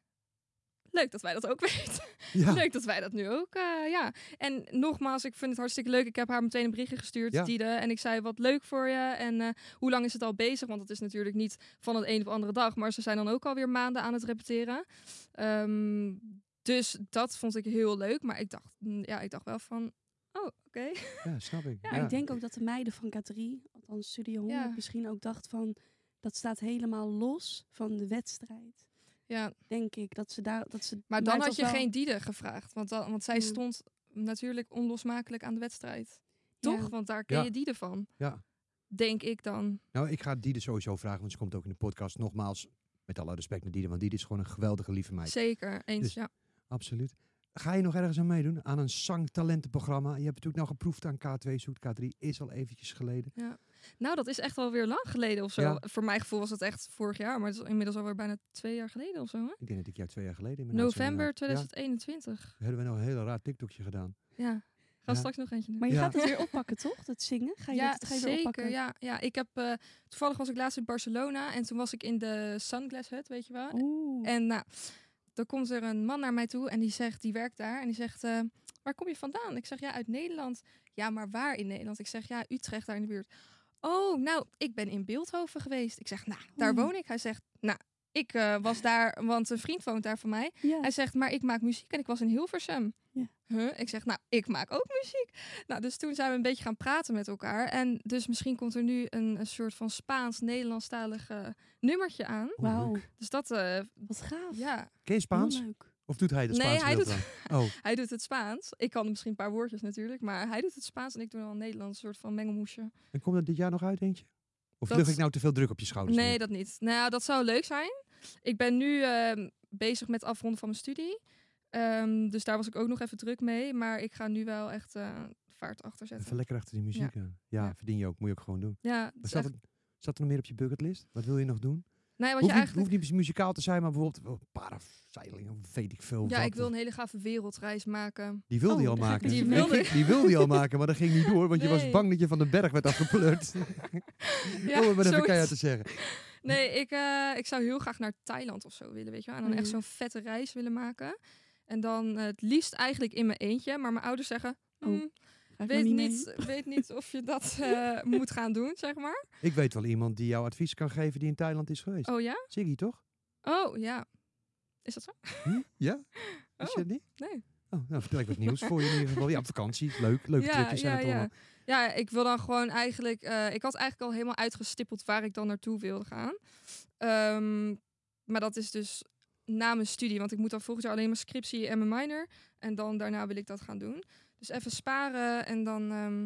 C: leuk dat wij dat ook weten.
A: Ja,
C: Leuk dat wij dat nu ook, eh, ja. En nogmaals, ik vind het hartstikke leuk. Ik heb haar meteen een berichtje gestuurd,
A: Ja.
C: Diede. En ik zei, wat leuk voor je. En eh, hoe lang is het al bezig? Want het is natuurlijk niet van het een op de andere dag. Maar ze zijn dan ook alweer maanden aan het repeteren. Ehm, dus dat vond ik heel leuk. Maar ik dacht, mm, ja, ik dacht wel van, oh, oké.
A: ja snap ik.
C: Ja,
B: Maar ik denk ook dat de meiden van K3, althans Studio 100,
C: Ja.
B: misschien ook dacht van... Dat staat helemaal los van de wedstrijd.
C: Ja,
B: Denk ik. Dat ze daar, dat ze
C: maar dan
B: het
C: had je
B: was wel-
C: geen Diede gevraagd. Want, dan, want zij
B: Ja.
C: stond natuurlijk onlosmakelijk aan de wedstrijd.
B: Ja.
C: Toch? Want daar ken
A: Ja.
C: je Diede van.
A: Ja.
C: Denk ik dan.
A: Nou, ik ga Diede sowieso vragen, want ze komt ook in de podcast. Nogmaals, met alle respect naar Diede, want Diede is gewoon een geweldige lieve meid.
C: Zeker, eens
A: Dus-
C: ja.
A: Absoluut. Ga je nog ergens aan meedoen? Aan een zangtalentenprogramma? Je hebt natuurlijk nou geproefd aan K2 zoekt K3. Is al eventjes geleden.
C: Nou, dat is echt alweer lang geleden of zo.
A: Ja.
C: Voor mijn gevoel was dat echt vorig jaar, maar het is inmiddels alweer bijna twee jaar geleden of zo. Hè?
A: Ik denk dat ik jou twee jaar geleden in mijn uitzending
C: November
A: had.
C: 2021.
A: Ja, hebben we nou een hele raar TikTokje gedaan.
C: Ja. Ga
A: Ja.
C: straks nog eentje doen.
B: Maar je
A: Ja.
B: gaat het weer oppakken, toch? Dat zingen? Ga je
C: ja,
B: dat, ga je weer
C: zeker.
B: oppakken?
C: Ja, ja, ik heb eh, toevallig was ik laatst in Barcelona en toen was ik in de Sunglass Hut, weet je wel.
B: Oeh.
C: En nou, dan komt er een man naar mij toe en die zegt, die werkt daar en die zegt, eh, waar kom je vandaan? Ik zeg, ja, uit Nederland. Ja, maar waar in Nederland? Ik zeg, ja, Utrecht, daar in de buurt. Oh, nou, ik ben in Beeldhoven geweest. Ik zeg, nou, daar
B: Oeh.
C: woon ik. Hij zegt, nou, ik eh, was daar, want een vriend woont daar van mij.
B: Ja.
C: Hij zegt, maar ik maak muziek en ik was in Hilversum.
B: Ja.
C: Huh? Ik zeg, nou, ik maak ook muziek. Nou, dus toen zijn we een beetje gaan praten met elkaar. En dus misschien komt er nu een, een soort van Spaans-Nederlandstalig eh, nummertje aan.
A: Oeh,
B: Wauw,
A: leuk.
C: Dus dat, eh,
B: wat gaaf.
C: ja,
A: Ken je
B: Heel
A: Spaans?
B: leuk.
A: Of doet hij dat
C: Nee,
A: Spaans
C: hij
A: gedeelte dan? Oh,
C: Hij doet het Spaans. Ik kan misschien een paar woordjes natuurlijk, maar hij doet het Spaans en ik doe dan een Nederlands soort van mengelmoesje.
A: en komt dat dit jaar nog uit, denk je? Of
C: Dat-
A: lucht ik nou te veel druk op je schouders?
C: Nee,
A: neer?
C: dat niet. Nou, dat zou leuk zijn. Ik ben nu ehm, bezig met afronden van mijn studie. Ehm, dus daar was ik ook nog even druk mee. Maar ik ga nu wel echt eh, vaart achter zetten.
A: Even lekker achter die muziek aan. Ja,
C: Ja.
A: verdien je ook. Moet je ook gewoon doen.
C: Ja, het is
A: Wat Zat,
C: echt-
A: er, zat er nog meer op je bucketlist? Wat wil je nog doen?
C: Nee, wat
A: hoeft,
C: je
A: niet,
C: eigenlijk...
A: hoeft niet muzikaal te zijn, maar bijvoorbeeld oh, paraseiling of weet ik veel.
C: Ja,
A: wat.
C: ik wil een hele gave wereldreis maken.
A: Die wilde
B: Oh,
A: je al
B: daar ga ik
A: maken.
C: dus Die
A: Maar
C: wilde-
A: ging- die wilde je al maken, maar dat ging niet door, want je was
C: Nee.
A: bang dat je van de berg werd afgepleurd.
C: Ja,
A: oh, maar dat
C: zoiets.
A: heb ik te zeggen.
C: Nee, ik, eh, ik zou heel graag naar Thailand of zo willen, weet je wel. En dan echt
B: Mhm.
C: zo'n vette reis willen maken. En dan eh, het liefst eigenlijk in mijn eentje. Maar mijn ouders zeggen,
B: Oh,
C: "Hmm,
B: Ga ik nog
C: weet,
B: mee?
C: niet, weet niet of je dat eh, moet gaan doen, zeg maar.
A: Ik weet wel iemand die jou advies kan geven die in Thailand is geweest.
C: Oh ja?
A: Ziggy, toch?
C: Oh ja. Is dat zo?
A: Hm? Ja? Is
C: Oh,
A: je het niet?
C: nee.
A: Oh, nou vertel ik wat nieuws voor je in ieder geval. Ja, op vakantie. Leuk. Leuke tripjes zijn
C: ja,
A: het allemaal.
C: ja. ja, ik wil dan gewoon eigenlijk... eh, ik had eigenlijk al helemaal uitgestippeld waar ik dan naartoe wilde gaan. Ehm, maar dat is dus na mijn studie. Want ik moet dan volgend jaar alleen mijn scriptie en mijn minor. En dan daarna wil ik dat gaan doen. Dus even sparen en dan... ehm,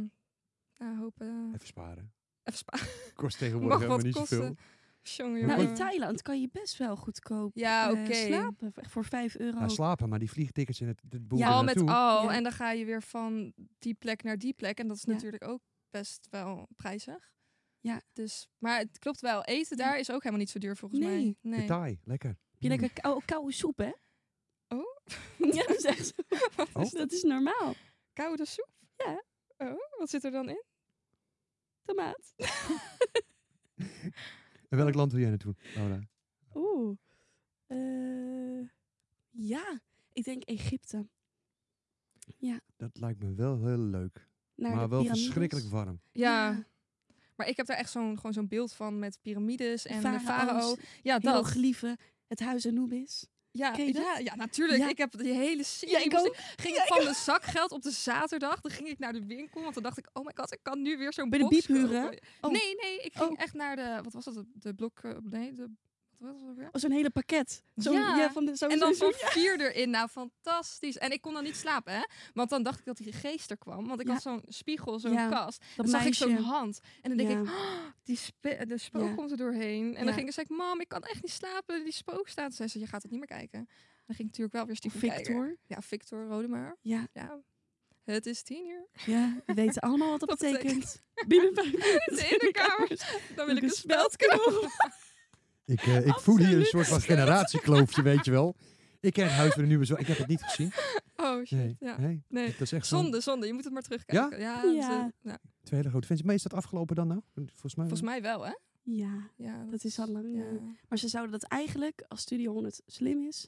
C: nou, hopen...
A: Even sparen.
C: Even sparen.
A: Kost tegenwoordig
C: Mag
A: helemaal
C: wat
A: niet zoveel.
C: kosten. Jongen,
B: Nou, in
C: jongen.
B: Thailand kan je best wel goedkoop
C: Ja,
B: eh,
C: oké.
B: slapen. v- Voor 5 euro.
A: Ja, Nou, slapen, maar die vliegtickets en het, het boel
B: Ja,
A: er
C: al Oh. met
A: naartoe.
C: al.
B: Ja.
C: En dan ga je weer van die plek naar die plek. En dat is
B: Ja.
C: natuurlijk ook best wel prijzig.
B: Ja.
C: Dus, maar het klopt wel. Eten daar is ook helemaal niet zo duur volgens
B: Nee.
C: mij. Nee.
A: Thai, lekker.
B: Je lekker kou- koude soep, hè?
C: Oh.
B: Ja, dat is echt zo. Dus
A: Oh.
B: Dat is normaal.
C: Koude soep?
B: Ja.
C: Oh, wat zit er dan in?
B: Tomaat.
A: En welk land wil jij naartoe, Laura?
B: Oeh. Eh, ja, ik denk Egypte.
A: Dat lijkt me wel heel leuk.
B: Naar
A: maar
B: de
A: wel
B: piramides.
A: verschrikkelijk warm.
C: Ja. Maar ik heb daar echt zo'n gewoon zo'n beeld van met piramides en de farao.
B: farao's,
C: Ja, dat.
B: hieroglyphen, het huis Anubis.
C: Ja,
B: Ken je dat?
C: ja, ja, natuurlijk.
B: Ja.
C: Ik heb die hele serie. moest ik- Ging ik van de zakgeld op de zaterdag. Dan ging ik naar de winkel. Want dan dacht ik, oh my god, ik kan nu weer zo'n
B: Bij de
C: box
B: biep huren?
C: kopen.
B: Oh.
C: Nee, nee. Ik ging
B: Oh.
C: echt naar de, wat was dat? De blok, eh, nee, de, wat was het ook weer?
B: Oh, zo'n hele pakket. Zo'n,
C: Ja.
B: ja. van de, zo,
C: En dan
B: zo-
C: zo'n vier erin. Nou, fantastisch. En ik kon dan niet slapen, hè? Want dan dacht ik dat die geest er kwam. Want ik
B: Ja.
C: had zo'n spiegel, zo'n
B: Ja,
C: kast.
B: dat
C: Dan zag ik
B: meisje.
C: zo'n hand. En dan denk
B: Ja.
C: ik, "Oh, die spe- de spook
B: Ja.
C: komt er doorheen. En
B: Ja.
C: dan ging ik zei ik, mam, ik kan echt niet slapen. Die spook staat. Zei ze, je gaat het niet meer kijken. Dan ging ik natuurlijk wel weer stiekem kijken.
B: Victor.
C: Ja, Victor Rodemaar.
B: Ja,
C: Ja, het is tien uur.
B: ja, we weten allemaal wat dat,
C: Wat
B: betekent. Binnen vijf minuten
C: In de kamer. Dan wil ik een
B: Dus
C: speld
A: Ik, eh, ik voel hier een soort van generatiekloofje, weet je wel. Ik ken Huis van de Nieuwe Zorg. Ik heb het niet gezien.
C: Oh, shit.
A: Nee,
C: Ja.
A: nee.
C: Nee.
A: Dat is echt zo'n
C: Zonde, zonde. Je moet het maar terugkijken. Ja?
B: Ja.
C: dat is, eh, nou,
A: twee hele grote fans. Maar is dat afgelopen dan nou? Volgens mij. wel.
C: volgens mij wel, hè?
B: Ja,
C: Ja,
B: dat is al lang.
C: ja.
B: eh, Maar ze zouden dat eigenlijk, als Studio 100 slim is,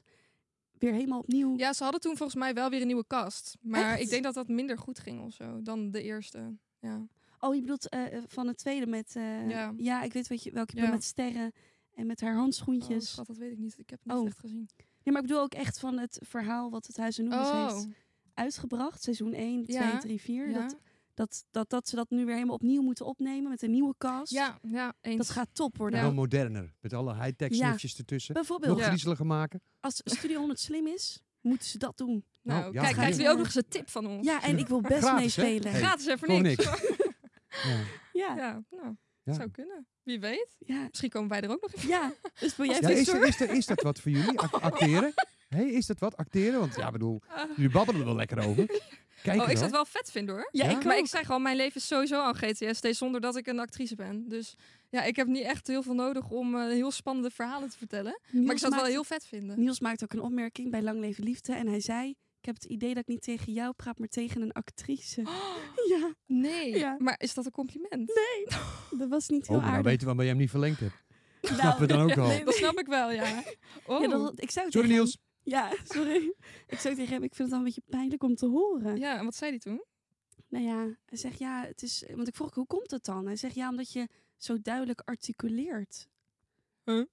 B: weer helemaal opnieuw.
C: Ja, ze hadden toen volgens mij wel weer een nieuwe kast. Maar
B: Echt?
C: ik denk dat dat minder goed ging of zo dan de eerste. Ja.
B: Oh, je bedoelt eh, eh, van het tweede met. eh,
C: Ja.
B: ja, ik weet wat je, welke je
C: Ja.
B: bedoelt, met sterren en met haar
C: Oh,
B: handschoentjes.
C: schat, dat weet ik niet. Ik heb het niet
B: Oh.
C: echt gezien.
B: ja, maar ik bedoel ook echt van het verhaal wat het Huis en Noemes heeft
C: Oh,
B: uitgebracht. Seizoen 1, 2,
C: Ja.
B: 3, 4.
C: ja.
B: Dat, dat, dat, dat ze dat nu weer helemaal opnieuw moeten opnemen met een nieuwe cast.
C: Ja, ja, eens.
B: Dat gaat top worden.
A: En
C: Ja.
A: wel moderner. Met alle high-tech
B: Ja.
A: snufjes ertussen.
B: Bijvoorbeeld,
A: Nog
C: Ja.
A: griezeliger maken.
B: als Studio 100 slim is, moeten ze dat doen.
C: Nou,
A: Nou, ja,
C: kijk,
A: ga doen.
C: krijgt jullie ook nog eens een tip van ons.
B: Ja, en ik wil best
A: Gratis,
B: meespelen.
A: hè? Hey,
C: Gratis en voor
A: voor
C: niks.
A: Ja.
B: Ja, ja.
C: ja, nou,
A: Ja.
C: zou kunnen. Wie weet.
B: ja.
C: Misschien komen wij er ook nog in.
B: Dus wil jij
A: Ja,
B: even
A: is, is, er- is dat wat voor jullie? Ac- acteren? Hey, is dat wat? Acteren? Want ja, ik bedoel,
B: Ah.
A: jullie babbelen er wel lekker over. Kijk wel.
C: Oh, ik zou het wel vet vinden hoor.
B: Ja,
A: Ja?
B: ik
C: Maar
B: ook.
C: ik zeg al, mijn leven is sowieso al GTSD zonder dat ik een actrice ben. Dus ja, ik heb niet echt heel veel nodig om eh, heel spannende verhalen te vertellen.
B: Niels
C: Maar ik zou
B: maakt-
C: het wel heel vet vinden.
B: Niels maakt ook een opmerking bij Lang Leven Liefde. En hij zei, ik heb het idee dat ik niet tegen jou praat, maar tegen een actrice. Ja,
C: Nee,
B: Ja.
C: maar is dat een compliment?
B: dat was niet
A: Oh,
B: heel
A: maar nou
B: aardig.
A: weten we waarom jij hem niet verlengd hebt.
B: Nou,
A: Snappen we dan ook al.
B: nee,
C: Dat snap ik wel, ja. Oh.
B: ja,
C: Ja,
B: dat, ik
A: Sorry
B: zou tegen
A: Niels.
B: hem- ja, sorry. Ik zou tegen hem, ik vind het dan een beetje pijnlijk om te horen.
C: en wat zei die toen?
B: Nou ja, hij zegt ja, het is... Want ik vroeg, hoe komt het dan? Hij zegt ja, omdat je zo duidelijk articuleert.
C: Huh?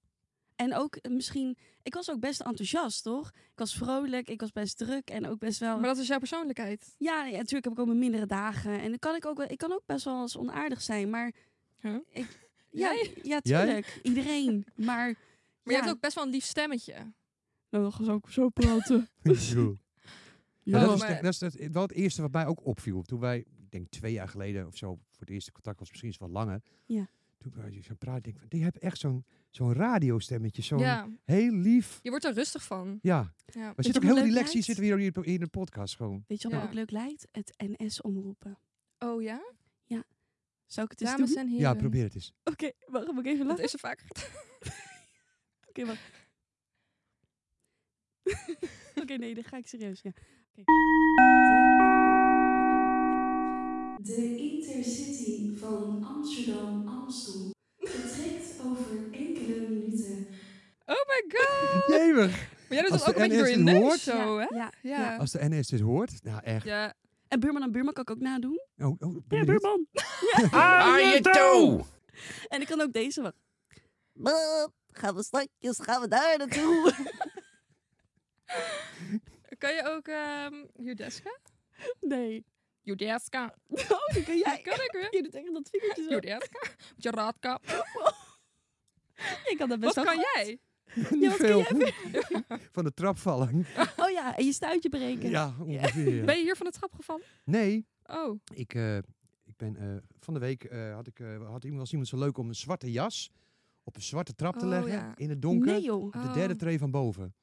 B: En ook eh, misschien... Ik was ook best enthousiast, toch? Ik was vrolijk, ik was best druk en ook best wel...
C: Maar dat is dus jouw persoonlijkheid.
B: Ja, ja, natuurlijk heb ik ook mijn mindere dagen. En dan kan ik ook wel... Ik kan ook best wel eens onaardig zijn, maar...
C: Huh?
B: Ik, ja,
C: Jij?
B: ja,
A: Jij?
B: tuurlijk. Iedereen. Maar...
C: Maar
B: ja,
C: je hebt ook best wel een lief stemmetje.
B: Nou, dan gaan ze ook zo praten.
A: Ja.
B: Ja,
A: Nou, dat, is,
C: maar-
A: de- dat is het- wel het eerste wat mij ook opviel. Toen wij, ik denk twee jaar geleden of zo, voor het eerste contact was, misschien is het wel langer.
B: Ja.
A: Toen ik zo praat, denk ik, van, die hebt echt zo'n zo'n radiostemmetje. Zo'n
C: Ja,
A: heel lief.
C: je wordt er rustig van.
A: Ja,
C: Ja.
A: we
B: je
A: zitten ook heel
B: hoe leuk
A: relaxed. hier
B: lijkt?
A: Zitten we hier in de- in de podcast gewoon.
B: Weet je wat me
C: Ja.
B: ook leuk lijkt? Het NS omroepen.
C: Oh ja?
B: Zou ik het eens
C: Dames
B: doen?
C: en heren.
A: Ja, probeer het eens.
B: Oké, waarom ik even
C: Dat
B: lachen?
C: is er vaak.
B: Oké, wacht. Oké, nee, dan ga ik serieus. Ja.
D: De intercity van Amsterdam Amstel vertrekt over enkele minuten.
C: Oh my god!
A: Jemig.
C: Maar jij doet
A: Als
C: dat ook
A: de
C: een beetje door
A: NS
C: je
A: het
C: neus
A: hoort.
C: zo, hè?
B: Ja.
C: Ja.
A: Als de NS dit hoort, nou echt.
C: Ja.
B: En buurman aan buurman kan ik ook nadoen.
A: Oh, oh, ben
B: Ja,
A: benieuwd.
B: buurman.
F: Aan je toe!
B: En ik kan ook deze wacht.
E: Mam, gaan we stadjes, gaan we daar naartoe?
C: Kan je ook ehm Judeska?
B: Nee.
C: Judeska.
B: Oh, die kan jij.
C: Kan ik weer?
B: Je doet echt dat vingertje zo.
C: Judeska. Jaradka.
B: Ik kan dat best
C: Wat
B: wel
C: kan
B: goed.
C: jij?
A: Niet
B: Ja, wat kun
A: veel.
B: jij
A: Van de trap vallen.
B: Oh ja, en je stuitje breken.
A: Ja, ongeveer.
C: Ben je hier van de trap gevallen?
A: Nee,
C: Oh.
A: ik, eh, ik ben eh, van de week eh, had ik eh, had iemand was iemand zo leuk om een zwarte jas op een zwarte trap te
C: Oh,
A: leggen
C: ja.
A: in het donker
B: Nee joh.
A: op de derde
C: Oh.
A: tree van boven.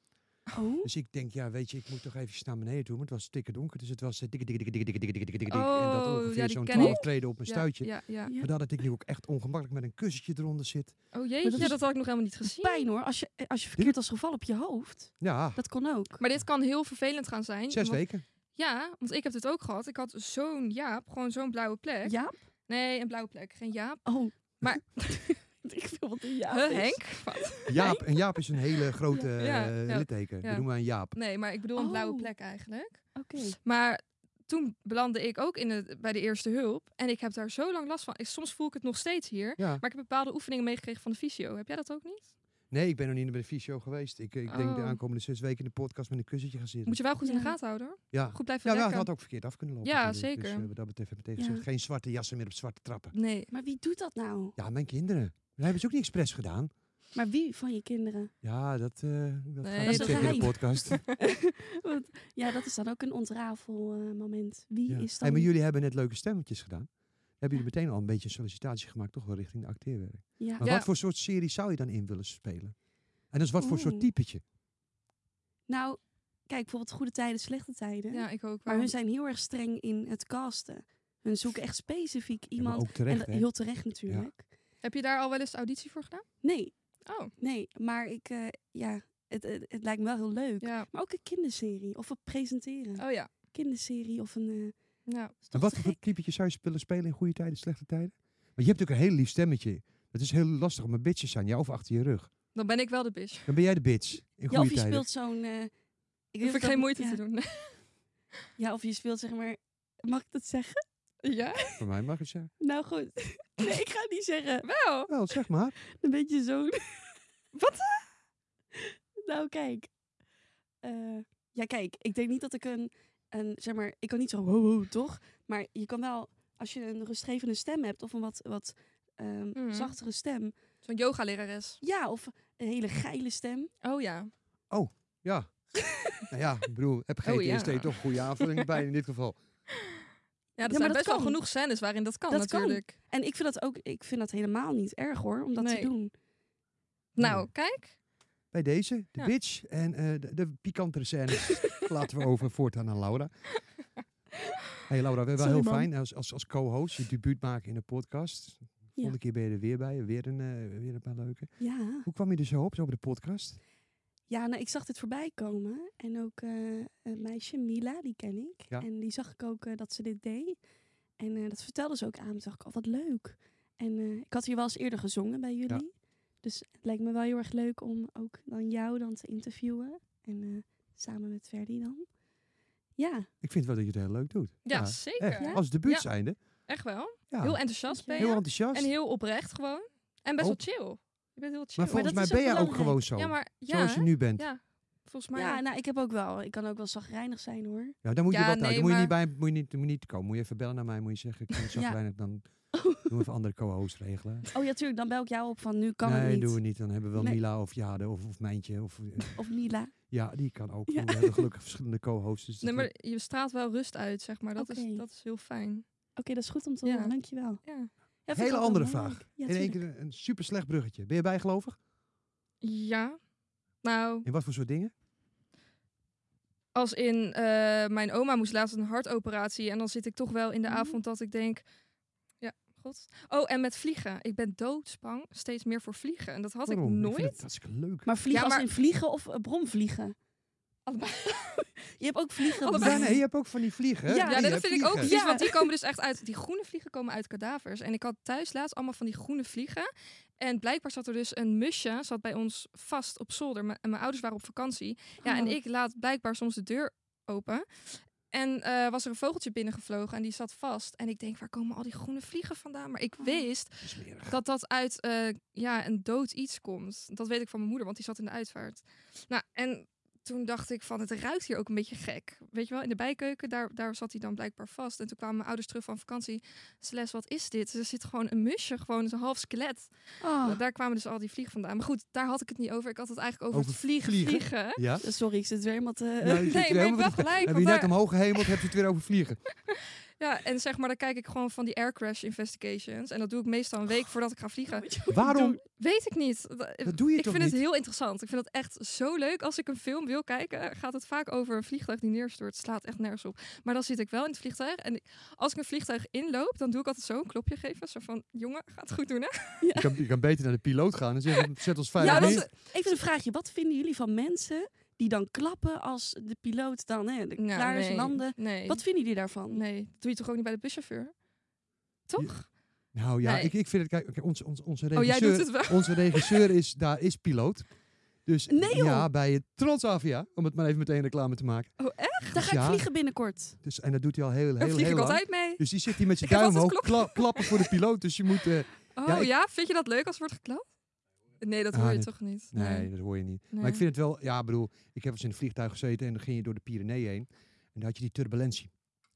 B: Oh.
A: Dus ik denk, ja, weet je, ik moet toch eventjes naar beneden toe. Want het was stikke donker. Dus het was eh, dikke, dikke, dikke, dikke, dikke, dikke, dikke, dikke, dikke. en dat
C: Oh, ja,
A: ongeveer
C: die
A: zo'n
C: ken ik.
A: 12 treden op mijn
C: Ja,
A: stuitje.
C: Ja, ja.
B: Ja.
A: Maar dat ik nu ook echt ongemakkelijk met een kussentje eronder zit.
C: Oh jeetje,
B: dat
C: dat,
B: is-
C: had ik nog helemaal niet gezien.
B: Pijn hoor, als je, eh, als je verkeerd als geval op je hoofd.
A: Ja,
B: Dat kon ook.
C: Maar dit kan heel vervelend gaan zijn.
A: zes
C: want-
A: weken.
C: Ja, want ik heb dit ook gehad. Ik had zo'n jaap, gewoon zo'n blauwe plek.
B: Jaap?
C: Nee, een blauwe plek, geen jaap.
B: Oh.
C: Maar-
B: ik wil wat een Jaap
C: Huh,
B: is.
C: Henk? Wat?
A: Jaap, een Jaap is een hele grote
C: Ja,
A: eh,
C: ja.
A: litteken.
C: Ja.
A: We noemen een Jaap.
C: Nee, maar ik bedoel een blauwe
B: Oh.
C: plek eigenlijk.
B: Oké.
C: Maar toen belandde ik ook in de, bij de eerste hulp. En ik heb daar zo lang last van. Ik, soms voel ik het nog steeds hier.
A: Ja.
C: Maar ik heb bepaalde oefeningen meegekregen van de fysio. Heb jij dat ook niet?
A: Nee, ik ben nog niet bij de fysio geweest. Ik, ik denk de
C: Oh.
A: aankomende zes weken in de podcast met een kussentje gaan zitten.
C: Moet je wel goed in de
B: Ja.
C: gaten houden. hoor.
A: Ja.
C: Goed blijven
A: Ja, ja,
C: rekken.
A: het had ook verkeerd af kunnen lopen.
C: Ja,
A: natuurlijk. Dus
C: zeker.
A: eh, wat dat betreft heb ik tegen
B: Ja.
A: gezegd, geen zwarte jassen meer op zwarte trappen.
C: Nee.
B: Maar wie doet dat nou?
A: Ja, mijn kinderen. Dat hebben ze ook niet expres gedaan.
B: Maar wie van je kinderen?
A: Ja, dat, eh dat
C: Nee,
A: ga ik
C: dat
A: niet
C: is
A: zeggen in
B: geheim.
A: de podcast.
B: Want, ja, dat is dan ook een ontrafelmoment. moment. Wie
A: ja.
B: is
A: Hey,
B: dan...
A: maar jullie hebben net leuke stemmetjes gedaan. Hebben jullie meteen al een beetje een sollicitatie gemaakt, toch wel richting de acteerwerk?
B: Ja.
A: Maar
C: Ja.
A: wat voor soort serie zou je dan in willen spelen? En dus wat voor soort
B: Oeh.
A: typetje?
B: Nou, kijk, bijvoorbeeld goede tijden, slechte tijden.
C: Ja, ik ook wel.
B: Maar hun zijn heel erg streng in het casten. Hun zoeken echt specifiek
A: Ja, maar
B: iemand.
A: ook terecht,
B: en dat-
A: hè?
B: heel terecht natuurlijk.
C: Heb je daar al wel eens auditie voor gedaan?
B: Nee,
C: Oh,
B: nee. Maar ik, eh, ja, het, het, het lijkt me wel heel leuk.
C: ja.
B: Maar ook een kinderserie. Of een presenteren.
C: Oh ja. Nou,
B: Kinderserie of een... eh,
C: ja.
B: is
A: En
B: toch
A: wat
B: te
A: voor
B: gek?
A: typetje zou je willen spelen in goede tijden, slechte tijden? Want je hebt natuurlijk een heel lief stemmetje. Het is heel lastig om een bitch te zijn, ja, of achter je rug.
C: Dan ben ik wel de bitch.
A: Dan ben jij de bitch in
B: Ja,
A: goede
B: of je
A: tijden.
B: speelt zo'n... eh ik weet
C: Hoef
B: of
C: ik
B: dat-
C: geen moeite
B: ja.
C: te doen.
B: Ja, of je speelt zeg maar... Mag ik dat zeggen?
C: ja?
A: Voor mij mag het zijn.
B: Nou goed. Nee, ik ga het niet zeggen.
C: Wel.
A: Wel, zeg maar.
B: Een beetje zo'n... Wat? Nou, kijk. Eh, ja, kijk. Ik denk niet dat ik een... een zeg maar, ik kan niet zo wow, wow, toch? Maar je kan wel... Als je een rustgevende stem hebt of een wat, wat ehm,
C: Mhm.
B: zachtere stem.
C: Zo'n yoga-lerares.
B: Ja, of een hele geile stem.
C: Oh ja.
A: Ja. nou ja, ik bedoel, heb geen
C: Oh, ja.
A: TST toch een goede aanvulling bij in dit geval.
C: Ja, er
B: maar
C: zijn
B: dat
C: best wel
B: kan.
C: genoeg scènes waarin dat kan
B: Dat kan.
C: natuurlijk.
B: En ik vind dat ook... Ik vind dat helemaal niet erg hoor, om dat
C: Nee.
B: te doen.
C: Nou, kijk.
A: Bij deze, de
C: Ja.
A: bitch en eh, de, de pikantere scènes laten we over voortaan aan Laura. hey Laura, we hebben wel
B: Sorry,
A: heel
B: man.
A: fijn als, als, als co-host je debuut maken in de podcast. Volgende keer
B: Ja.
A: ben je er weer bij, weer een, eh, weer een paar leuke.
B: Ja.
A: Hoe kwam je er zo op, zo bij de podcast?
B: Ja, nou, ik zag dit voorbij komen. En ook eh, een meisje, Mila, die ken ik.
A: Ja.
B: En die zag ik ook eh, dat ze dit deed. En eh, dat vertelde ze ook aan. me. Toen dacht ik, oh, wat leuk. En eh, ik had hier wel eens eerder gezongen bij jullie. Dus het lijkt me wel heel erg leuk om ook dan jou dan te interviewen. En eh, samen met Verdi dan. Ja,
A: Ik vind wel dat je het heel leuk doet.
C: Ja,
A: echt.
C: zeker.
B: Ja?
A: Als debuut
C: Ja.
A: zijnde.
C: Echt wel.
A: Ja.
C: Heel enthousiast
B: Dankjewel.
C: ben je.
A: Heel enthousiast.
C: En heel oprecht gewoon. En best
A: Oh.
C: wel chill. Je bent heel chill.
A: maar volgens
B: dat
A: mij
B: is
A: ben
B: ook
A: jij ook
B: belangrijk.
A: gewoon zo.
C: ja, maar ja,
A: zoals je
C: hè?
A: nu bent.
C: Ja.
A: Ja,
C: volgens mij.
B: ja nou, ik heb ook wel. Ik kan ook wel zagrijnig zijn hoor.
A: dan moet je
C: Ja,
A: dat nou.
C: nee,
A: Dan moet je
C: maar-
A: niet bij moet je niet, moet je niet komen. Moet je even bellen naar mij. Moet je zeggen, ik kan zo weinig dan doen we even andere co-host regelen.
B: Oh ja, tuurlijk. Dan bel ik jou op van nu kan
A: nee,
B: het niet.
A: doen we niet. Dan hebben we wel
B: Nee.
A: Mila of Jade of, of Mijntje. Of, eh,
B: Of Mila.
A: ja, die kan ook.
B: Ja.
A: We hebben gelukkig verschillende co-hosts. Dus dat
C: Nee, maar
A: lukt.
C: je straalt wel rust uit, zeg maar. Dat,
B: Oké.
C: is, dat is heel fijn.
B: Oké, dat is goed om te
C: Ja.
B: horen. Dankjewel.
C: Ja.
B: Ja, vind ik
A: Hele
B: ook wel
A: andere
B: belangrijk.
A: vraag.
B: Ja,
A: In één
B: tuurlijk.
A: keer een super slecht bruggetje. Ben je bijgelovig?
C: Ja. Nou,
A: In wat voor soort dingen?
C: als in eh, mijn oma moest laatst een hartoperatie. En dan zit ik toch wel in de
A: Mhm.
B: Mm.
C: avond dat ik denk... Ja, god. Oh, en met vliegen. Ik ben doodsbang steeds meer voor vliegen. En dat had
A: Waarom?
C: ik
A: vind
C: nooit.
A: het hartstikke leuk.
B: Maar vliegen
C: Ja, maar-
B: als in vliegen of eh, bromvliegen?
C: Allebei.
B: Je hebt ook vliegen.
C: Allebei.
A: Ja,
B: bedoeld.
A: nee, je hebt ook van die vliegen. hè?
B: Ja,
A: Die
C: Ja, dat
A: hebben
C: vind ik ook
A: vliegen.
C: vies,
B: Ja.
C: want die komen dus echt uit... Die groene vliegen komen uit kadavers. En ik had thuis laatst allemaal van die groene vliegen. En blijkbaar zat er dus een musje, zat bij ons vast op zolder. M- En mijn ouders waren op vakantie. Ja, en
B: Oh.
C: ik laat blijkbaar soms de deur open. En eh, was er een vogeltje binnengevlogen en die zat vast. En ik denk, waar komen al die groene vliegen vandaan? Maar ik
B: Oh.
C: wist
A: Smerig.
C: dat dat uit eh, ja, een dood iets komt. Dat weet ik van mijn moeder, want die zat in de uitvaart. Nou, en toen dacht ik van, het ruikt hier ook een beetje gek. Weet je wel, in de bijkeuken, daar, daar zat hij dan blijkbaar vast. En toen kwamen mijn ouders terug van vakantie. Celeste, wat is dit? Er zit gewoon een musje, gewoon een half skelet.
B: Oh,
C: Daar kwamen dus al die vliegen vandaan. Maar goed, daar had ik het niet over. Ik had het eigenlijk over,
A: Over
C: het vliegen.
A: vliegen?
C: vliegen.
A: Ja?
B: sorry, ik zit weer helemaal te... Eh,
A: Ja, Nou, je zit
C: Nee,
A: er
C: maar je
A: helemaal
C: hebt
A: met-
C: wel gelijk.
A: Heb
C: want
A: je net
C: daar-
A: omhoog gehemeld, heb je het weer over vliegen.
C: Ja, en zeg maar, dan kijk ik gewoon van die aircrash investigations. En dat doe ik meestal een week voordat ik ga vliegen.
B: Moet je
A: Waarom?
C: Weet ik niet. Dat-
A: Dat doe je
C: ik
A: toch
C: vind het
A: niet?
C: heel interessant. Ik vind het echt zo leuk. Als ik een film wil kijken, gaat het vaak over een vliegtuig die neerstort. Het slaat echt nergens op. Maar dan zit ik wel in het vliegtuig. En ik- als ik een vliegtuig inloop, dan doe ik altijd zo een klopje geven. Zo van, jongen, gaat het goed doen, hè?
A: Je, kan, je kan beter naar de piloot gaan en zeggen, zet ons vijf
B: Ja, dat
A: neer.
B: is- even een vraagje. Wat vinden jullie van mensen die dan klappen als de piloot dan hè, de-
C: Nou,
B: klaar is
C: nee.
B: landen?
C: Nee.
B: Wat vinden jullie daarvan?
C: nee, dat doe je toch ook niet bij de buschauffeur? Toch?
A: Nou ja,
C: Nee.
A: ik, ik vind het... Kijk, oké, onze, onze, onze
C: oh, jij doet
A: regisseur,
C: het wel.
A: onze regisseur is, daar is piloot. Dus
B: Nee, joh.
A: ja, bij het Transavia, om het maar even meteen reclame te maken.
C: Oh, echt?
B: Daar ga ik
A: Ja.
B: vliegen binnenkort.
A: Dus, en dat doet hij al heel,
C: Daar
A: heel,
C: vlieg
A: heel
C: ik
A: lang.
C: altijd mee.
A: Dus die zit hier met zijn
C: Ik heb
A: duim
C: altijd
A: omhoog, kla- klappen voor de piloot. Dus je moet... eh,
C: Oh
A: Ja,
C: ja,
A: ik-
C: vind je dat leuk als er wordt geklapt? Nee, dat
A: Ah,
C: hoor je
A: nee.
C: toch niet?
A: nee, dat hoor je niet.
C: nee.
A: Maar ik vind het wel... Ja, ik bedoel, ik heb eens in een vliegtuig gezeten en dan ging je door de Pyreneeën heen. En dan had je die turbulentie.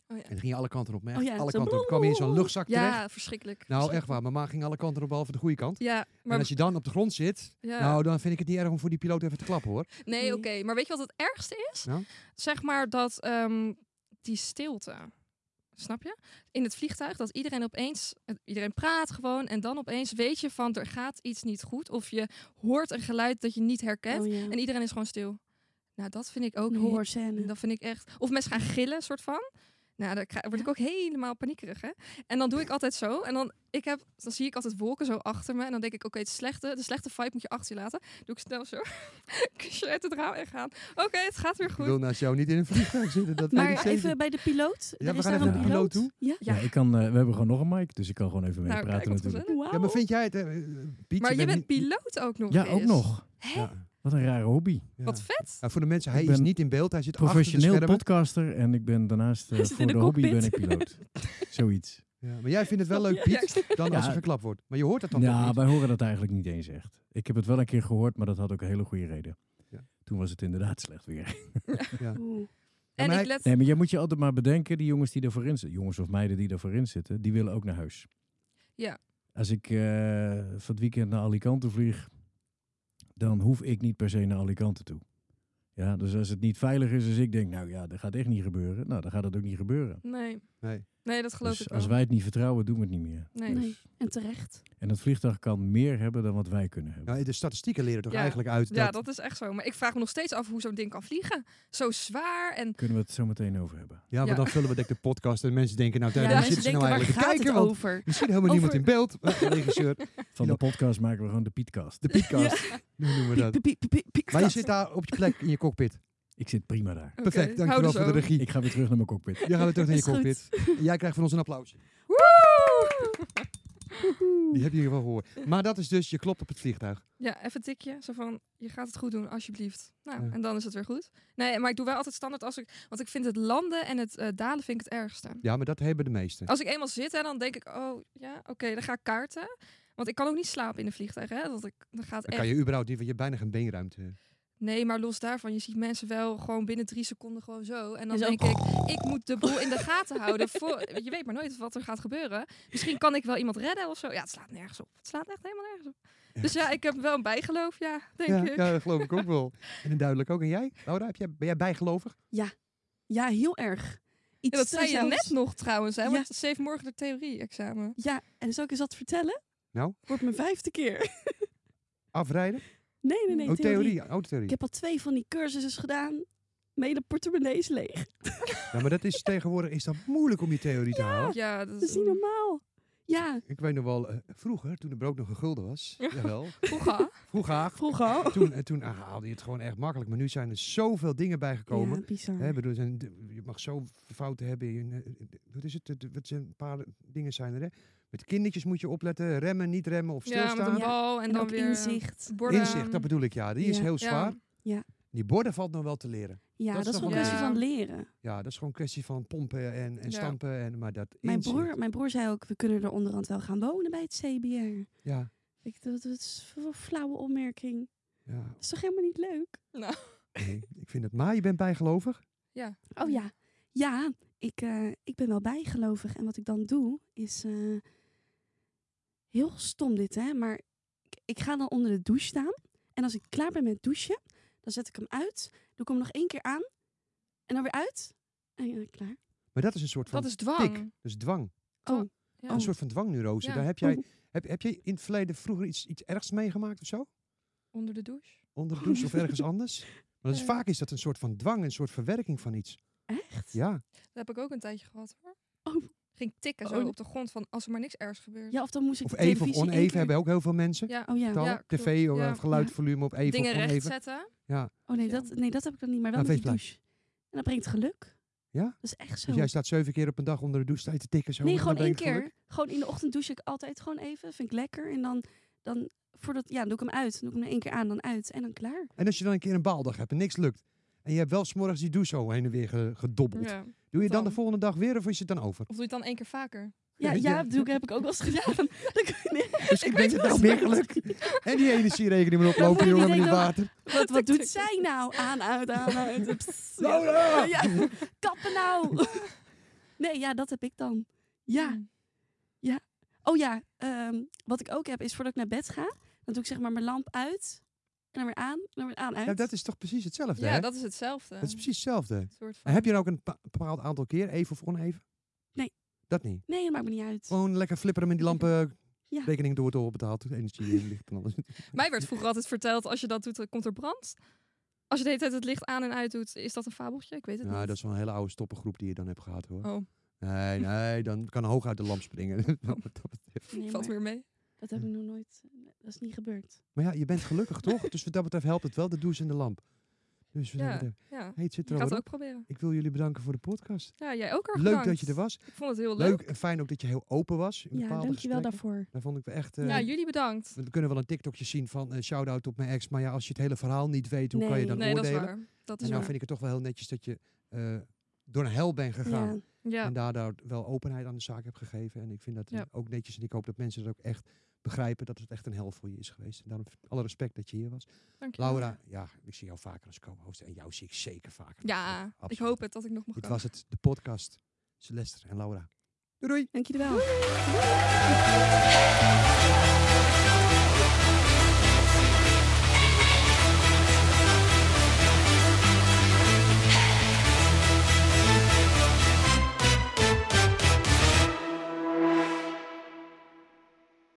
C: Oh ja.
A: En dan ging je alle kanten op. Maar echt
B: Oh ja,
A: alle
B: zo
A: kanten op. kwam je in zo'n luchtzak terecht.
C: Ja, verschrikkelijk.
A: Nou, echt
C: verschrikkelijk.
A: waar. Mijn ma ging alle kanten op, behalve de goede kant.
C: Ja,
A: En
C: maar
A: als je dan op de grond zit,
C: ja.
A: nou, dan vind ik het niet erg om voor die piloot even te klappen, hoor.
C: nee,
B: Mm.
C: oké. Maar weet je wat het ergste is?
A: Nou?
C: Zeg maar dat ehm, die stilte. Snap je? In het vliegtuig dat iedereen opeens, eh, iedereen praat gewoon en dan opeens weet je van er gaat iets niet goed of je hoort een geluid dat je niet herkent
B: Oh, ja.
C: en iedereen is gewoon stil. Nou, dat vind ik ook
B: Een
C: heel-
B: hoorscène.
C: Dat vind ik echt. Of mensen gaan gillen, soort van. Nou, daar krijg- word ik ook helemaal paniekerig, hè? En dan doe ik altijd zo. En dan, ik heb, dan zie ik altijd wolken zo achter me. En dan denk ik, oké, het slechte, de slechte vibe moet je achter je laten. Doe ik snel zo. Kusje uit het raam en gaan. Oké, het gaat weer
A: Ik
C: goed.
A: wil naast jou niet in een vliegtuig zitten, dat weet ik
B: Maar
A: zeker.
B: even bij de piloot.
A: Ja,
B: er
A: we
B: is
A: gaan
B: daar
A: even
B: een
G: naar
A: de
B: piloot.
A: piloot
B: Ja.
G: Ja, ik kan, eh, we hebben gewoon nog een mic, dus ik kan gewoon even mee
C: Nou,
G: praten
C: kijk, wat
G: natuurlijk.
A: Ja, maar vind jij het... eh, eh, Piet,
C: Maar je
A: bent
C: bent
A: niet-
C: piloot ook nog
G: Ja,
C: eens.
G: ook nog.
A: Ja,
G: Wat een rare hobby.
A: ja.
C: Wat vet.
A: Ja, voor de mensen,
G: Ik
A: hij is
G: ben
A: niet in beeld, hij zit achter
G: Professioneel
A: de schermen.
G: podcaster en ik ben daarnaast eh,
B: Hij zit
G: voor
B: in
G: de,
B: de
G: hobby ben
B: cockpit.
G: ik piloot. Zoiets.
A: Ja, maar jij vindt het wel leuk,
C: Ja,
A: Piet, dan als
G: Ja.
A: er geklapt wordt. Maar je hoort dat dan toch
G: Ja,
A: niet?
G: wij horen dat eigenlijk niet eens echt. Ik heb het wel een keer gehoord, maar dat had ook een hele goede reden.
A: Ja.
G: Toen was het inderdaad slecht weer.
B: Oeh.
A: Ja,
C: En
A: maar
C: ik let...
G: Nee, maar je moet je altijd maar bedenken, die jongens die daarvoor zitten, jongens of meiden die daarvoor zitten, die willen ook naar huis.
C: Ja.
G: Als ik eh, van het weekend naar Alicante vlieg, dan hoef ik niet per se naar Alicante toe. Ja, dus als het niet veilig is, dus ik denk, nou ja, dat gaat echt niet gebeuren. Nou, dan gaat het ook niet gebeuren.
C: Nee.
A: Nee.
C: Nee, dat geloof
G: dus
C: ik
G: als
C: wel.
G: wij het niet vertrouwen, doen we het niet meer. Dus
C: Nee.
B: Nee. En terecht.
G: En het vliegtuig kan meer hebben dan wat wij kunnen hebben.
A: Ja, Nou, de statistieken leren toch
C: Ja.
A: eigenlijk uit dat...
C: Ja, dat is echt zo. Maar ik vraag me nog steeds af hoe zo'n ding kan vliegen. Zo zwaar en...
G: Kunnen we het zo meteen over hebben.
A: Ja, maar
C: Ja.
A: dan vullen we denk ik de podcast en mensen denken, nou,
B: Ja,
A: daar daar
B: mensen
A: zitten ze
B: denken,
A: nou
B: waar
A: eigenlijk te
B: gaat
A: kijken,
B: het
A: want
B: over?
A: misschien helemaal niemand
B: Over-
A: in beeld. Eh, de regisseur,
G: Van de
A: Ja.
G: podcast maken we gewoon de Pietcast.
A: de Pietkast, hoe noemen we dat.
B: Piep, piep, piep, piep, piep,
A: Maar je
B: dat.
A: zit daar op je plek in je cockpit.
G: Ik zit prima daar.
C: Oké,
A: Perfect,
C: hou
A: dankjewel
C: er
A: voor
C: zo.
A: de regie.
G: Ik ga weer terug naar mijn cockpit.
A: Jij gaat weer terug naar je
B: dus Is goed.
A: cockpit. En jij krijgt van ons een applaus. Die heb je in ieder geval gehoord. Maar dat is dus, je klopt op het vliegtuig.
C: Ja, even een tikje. Zo van, je gaat het goed doen, alsjeblieft. Nou,
A: Ja.
C: en dan is het weer goed. Nee, maar ik doe wel altijd standaard als ik... Want ik vind het landen en het eh, dalen vind ik het ergste.
A: Ja, maar dat hebben de meesten.
B: Oh,
C: Als ik eenmaal zit, hè, dan denk ik... Oh, ja, oké, dan ga ik kaarten. Want ik kan ook niet slapen in een vliegtuig, hè. Want ik, dan gaat
A: Dan
C: echt...
A: kan je überhaupt niet, want je hebt bijna geen beenruimte.
C: Nee, maar los daarvan, je ziet mensen wel gewoon binnen drie seconden gewoon zo. En dan
B: En zo-
C: denk ik, ik moet de boel in de gaten houden. Voor, je weet maar nooit wat er gaat gebeuren. Misschien kan ik wel iemand redden of zo. Ja, het slaat nergens op. Het slaat echt helemaal nergens op. Dus ja, ik heb wel een bijgeloof, ja, denk
A: Ja,
C: ik.
A: ja, dat geloof ik ook wel. En duidelijk ook. En jij? Laura, heb jij, ben jij bijgelovig?
B: Ja, heel erg. Iets
C: Ja, dat zei je
B: zelfs-
C: net nog trouwens, hè?
B: Ja.
C: Want ze heeft morgen de theorie-examen.
B: Ja, en zal ik eens wat vertellen?
A: Nou?
B: Wordt mijn vijfde keer.
A: Afrijden?
B: Nee, nee, nee.
A: oh, theorie. Oh, theorie.
B: Ik heb al twee van die cursussen gedaan. Mijn hele portemonnee is leeg.
A: Ja, maar dat is tegenwoordig is dat moeilijk om je theorie te halen.
C: Ja, dat
B: Dat is niet normaal. Ja,
A: Ik weet nog wel, eh, vroeger, toen de brood nog een gulden was, jawel,
C: Vroeger.
A: vroeger,
B: vroeger al.
A: toen, eh, toen ah, haalde je het gewoon echt makkelijk. Maar nu zijn er zoveel dingen bijgekomen.
B: Ja, bizar.
A: Hè, bedoel, er zijn, de- je mag zo fouten hebben. in, eh, Wat is het? Het- Wat zijn een paar dingen zijn er, hè? Met kindertjes moet je opletten. Remmen, niet remmen of
C: Ja, met
A: stilstaan.
C: een bal en,
B: en
C: dan
B: ook
C: weer... eh,
B: inzicht.
C: Borden.
A: Inzicht, dat bedoel ik, ja. Die is
B: Ja.
A: heel
C: Ja.
A: zwaar.
B: Ja.
A: Die borden valt nog wel te leren.
B: Ja,
A: Dat is
B: dat is
A: toch
B: gewoon
C: wel-
B: een kwestie van
C: Ja.
B: leren.
A: Ja, dat is gewoon een kwestie van pompen en, en
C: Ja.
A: stampen. En, maar dat
B: Mijn
A: inzicht,
B: broer, mijn broer zei ook, we kunnen er onderhand wel gaan wonen bij het CBR.
A: Ja,
B: Ik, dat, dat is een flauwe opmerking.
A: ja
B: Dat is toch helemaal niet leuk?
A: nee, ik vind het. Maar je bent bijgelovig.
B: Oh ja, ja, ik, eh, ik ben wel bijgelovig. En wat ik dan doe, is eh, heel stom dit, hè. Maar ik, ik ga dan onder de douche staan. En als ik klaar ben met douchen, dan zet ik hem uit. Doe ik hem nog één keer aan. En dan weer uit. En ja, klaar.
A: Maar dat is een soort van
C: Dat is dwang.
A: tik. Dus dwang.
C: Ja.
A: Een soort van dwangneurose.
C: Ja.
A: Daar heb, jij, heb, heb jij in het verleden vroeger iets, iets ergs meegemaakt of zo?
C: Onder de douche.
A: Onder de douche of ergens anders? Maar dat is,
C: Eh.
A: vaak is dat een soort van dwang, een soort verwerking van iets.
B: Echt?
A: Ja.
C: Dat heb ik ook een tijdje gehad hoor.
B: Oh.
C: Ging tikken zo
B: Oh.
C: op de grond van als er maar niks ergs gebeurt.
B: Ja, of dan moest ik
A: Of
B: de
A: even of
B: televisie één
A: oneven
B: keer-
A: hebben ook heel veel mensen.
C: Ja,
B: Oh ja.
A: Tal,
C: Ja, klopt.
A: tv, of
C: Ja.
A: geluidvolume op even
C: dingen
A: of
C: recht
A: oneven.
C: zetten.
B: Oh nee,
C: Ja.
B: dat, nee, dat heb ik dan niet, maar wel
A: Aan
B: met de
A: feestplaats.
B: douche. En dat brengt geluk.
A: Ja?
B: Dat is echt zo.
A: Dus jij staat zeven keer op een dag onder de douche sta je te tikken. Zo,
B: nee,
A: en
B: gewoon
A: dan
B: één
A: ben je
B: keer.
A: gelukkig.
B: Gewoon in de ochtend douche ik altijd gewoon even. Vind ik lekker. En dan, dan voordat, ja, dan doe ik hem uit. Dan doe ik hem één keer aan, dan uit. En dan klaar.
A: En als je dan een keer een baaldag hebt en niks lukt. En je hebt wel s'morgens die douche zo heen en weer ge- gedobbeld.
C: Ja.
A: Doe je dan, de
C: dan.
A: volgende dag weer of is het dan over?
C: Of doe je het dan één keer vaker?
B: Ja,
A: Ja.
B: ja, dat doe ik, heb ik ook wel eens gedaan. Dat- nee,
A: Dus ik denk dat nou
B: wat
A: meer
B: ze-
A: geluk. En die energierekening moet oplopen,
B: Ja,
A: jongen,
B: die
A: met het
B: denkt
A: water.
B: wat, wat doet zij nou? Aan, uit, aan, uit. Pss,
A: Oh,
B: ja.
A: Laura!
B: Ja, kappen nou! Nee, ja, dat heb ik dan. Ja.
C: Mm.
B: Oh ja, ehm, wat ik ook heb is voordat ik naar bed ga, dan doe ik zeg maar mijn lamp uit. En dan weer aan, en dan weer aan, uit.
A: Nou, dat is toch precies hetzelfde,
C: Ja,
A: hè?
C: dat is hetzelfde.
A: Dat is precies hetzelfde.
C: Een soort van.
A: En heb je dan ook een pa- bepaald aantal keer, even of oneven?
B: Nee.
A: Dat niet?
B: Nee, dat maakt me niet uit.
A: Gewoon lekker flipperen met die lampen. eh,
B: Ja.
A: Rekening door het betaald, energie en licht en alles.
C: Mij werd vroeger altijd verteld, als je dat doet, dan komt er brand. Als je de hele tijd het licht aan en uit doet, is dat een fabeltje? Ik weet het
A: Nou,
C: niet.
A: dat is wel een hele oude stoppengroep die je dan hebt gehad, hoor.
C: Oh,
A: Nee, nee, dan kan hoog uit de lamp springen. Wat dat betreft.
B: Nee,
C: valt
B: maar
C: weer mee.
B: dat heb ik nog nooit. Dat is niet gebeurd.
A: maar ja, je bent gelukkig, toch? Dus wat dat betreft helpt het wel, de douche en de lamp. Dus wat dat
C: Ja,
A: betreft-
C: ja.
A: hey, het zit
C: Ik
A: er
C: ga
A: al
C: het
A: weer op.
C: ook proberen.
A: Ik wil jullie bedanken voor de podcast.
C: Ja, jij ook erg
A: Leuk
C: bedankt.
A: dat je er was.
C: Ik vond het heel leuk.
A: Leuk en fijn ook dat je heel open was. In
B: Ja,
A: bepaalde
B: dankjewel
A: gesprekken.
B: daarvoor.
A: Daar vond ik wel echt... eh,
C: Ja, jullie bedankt.
A: we kunnen wel een TikTokje zien van eh, shout-out op mijn ex. Maar ja, als je het hele verhaal niet weet, hoe kan je
B: Nee.
A: dan
C: Nee, dat is
A: oordelen?
C: waar. Dat
A: En
C: is
A: nou
C: waar.
A: vind ik het toch wel heel netjes dat je eh, door een hel bent gegaan.
B: Ja.
C: Ja.
A: En daardoor wel openheid aan de zaak hebt gegeven. En ik vind dat eh,
C: Ja.
A: ook netjes. En ik hoop dat mensen dat ook echt begrijpen dat het echt een hel voor je is geweest. En daarom alle respect dat je hier was.
C: Dank je.
A: Laura, ja, ik zie jou vaker als co-host. En jou zie ik zeker vaker. als
C: Ja,
A: co-host.
C: ik
A: Absoluut.
C: hoop het dat ik nog mag
A: Dit
C: komen.
A: was het, de podcast. Celeste en Laura. Doei doei!
B: Dankjewel.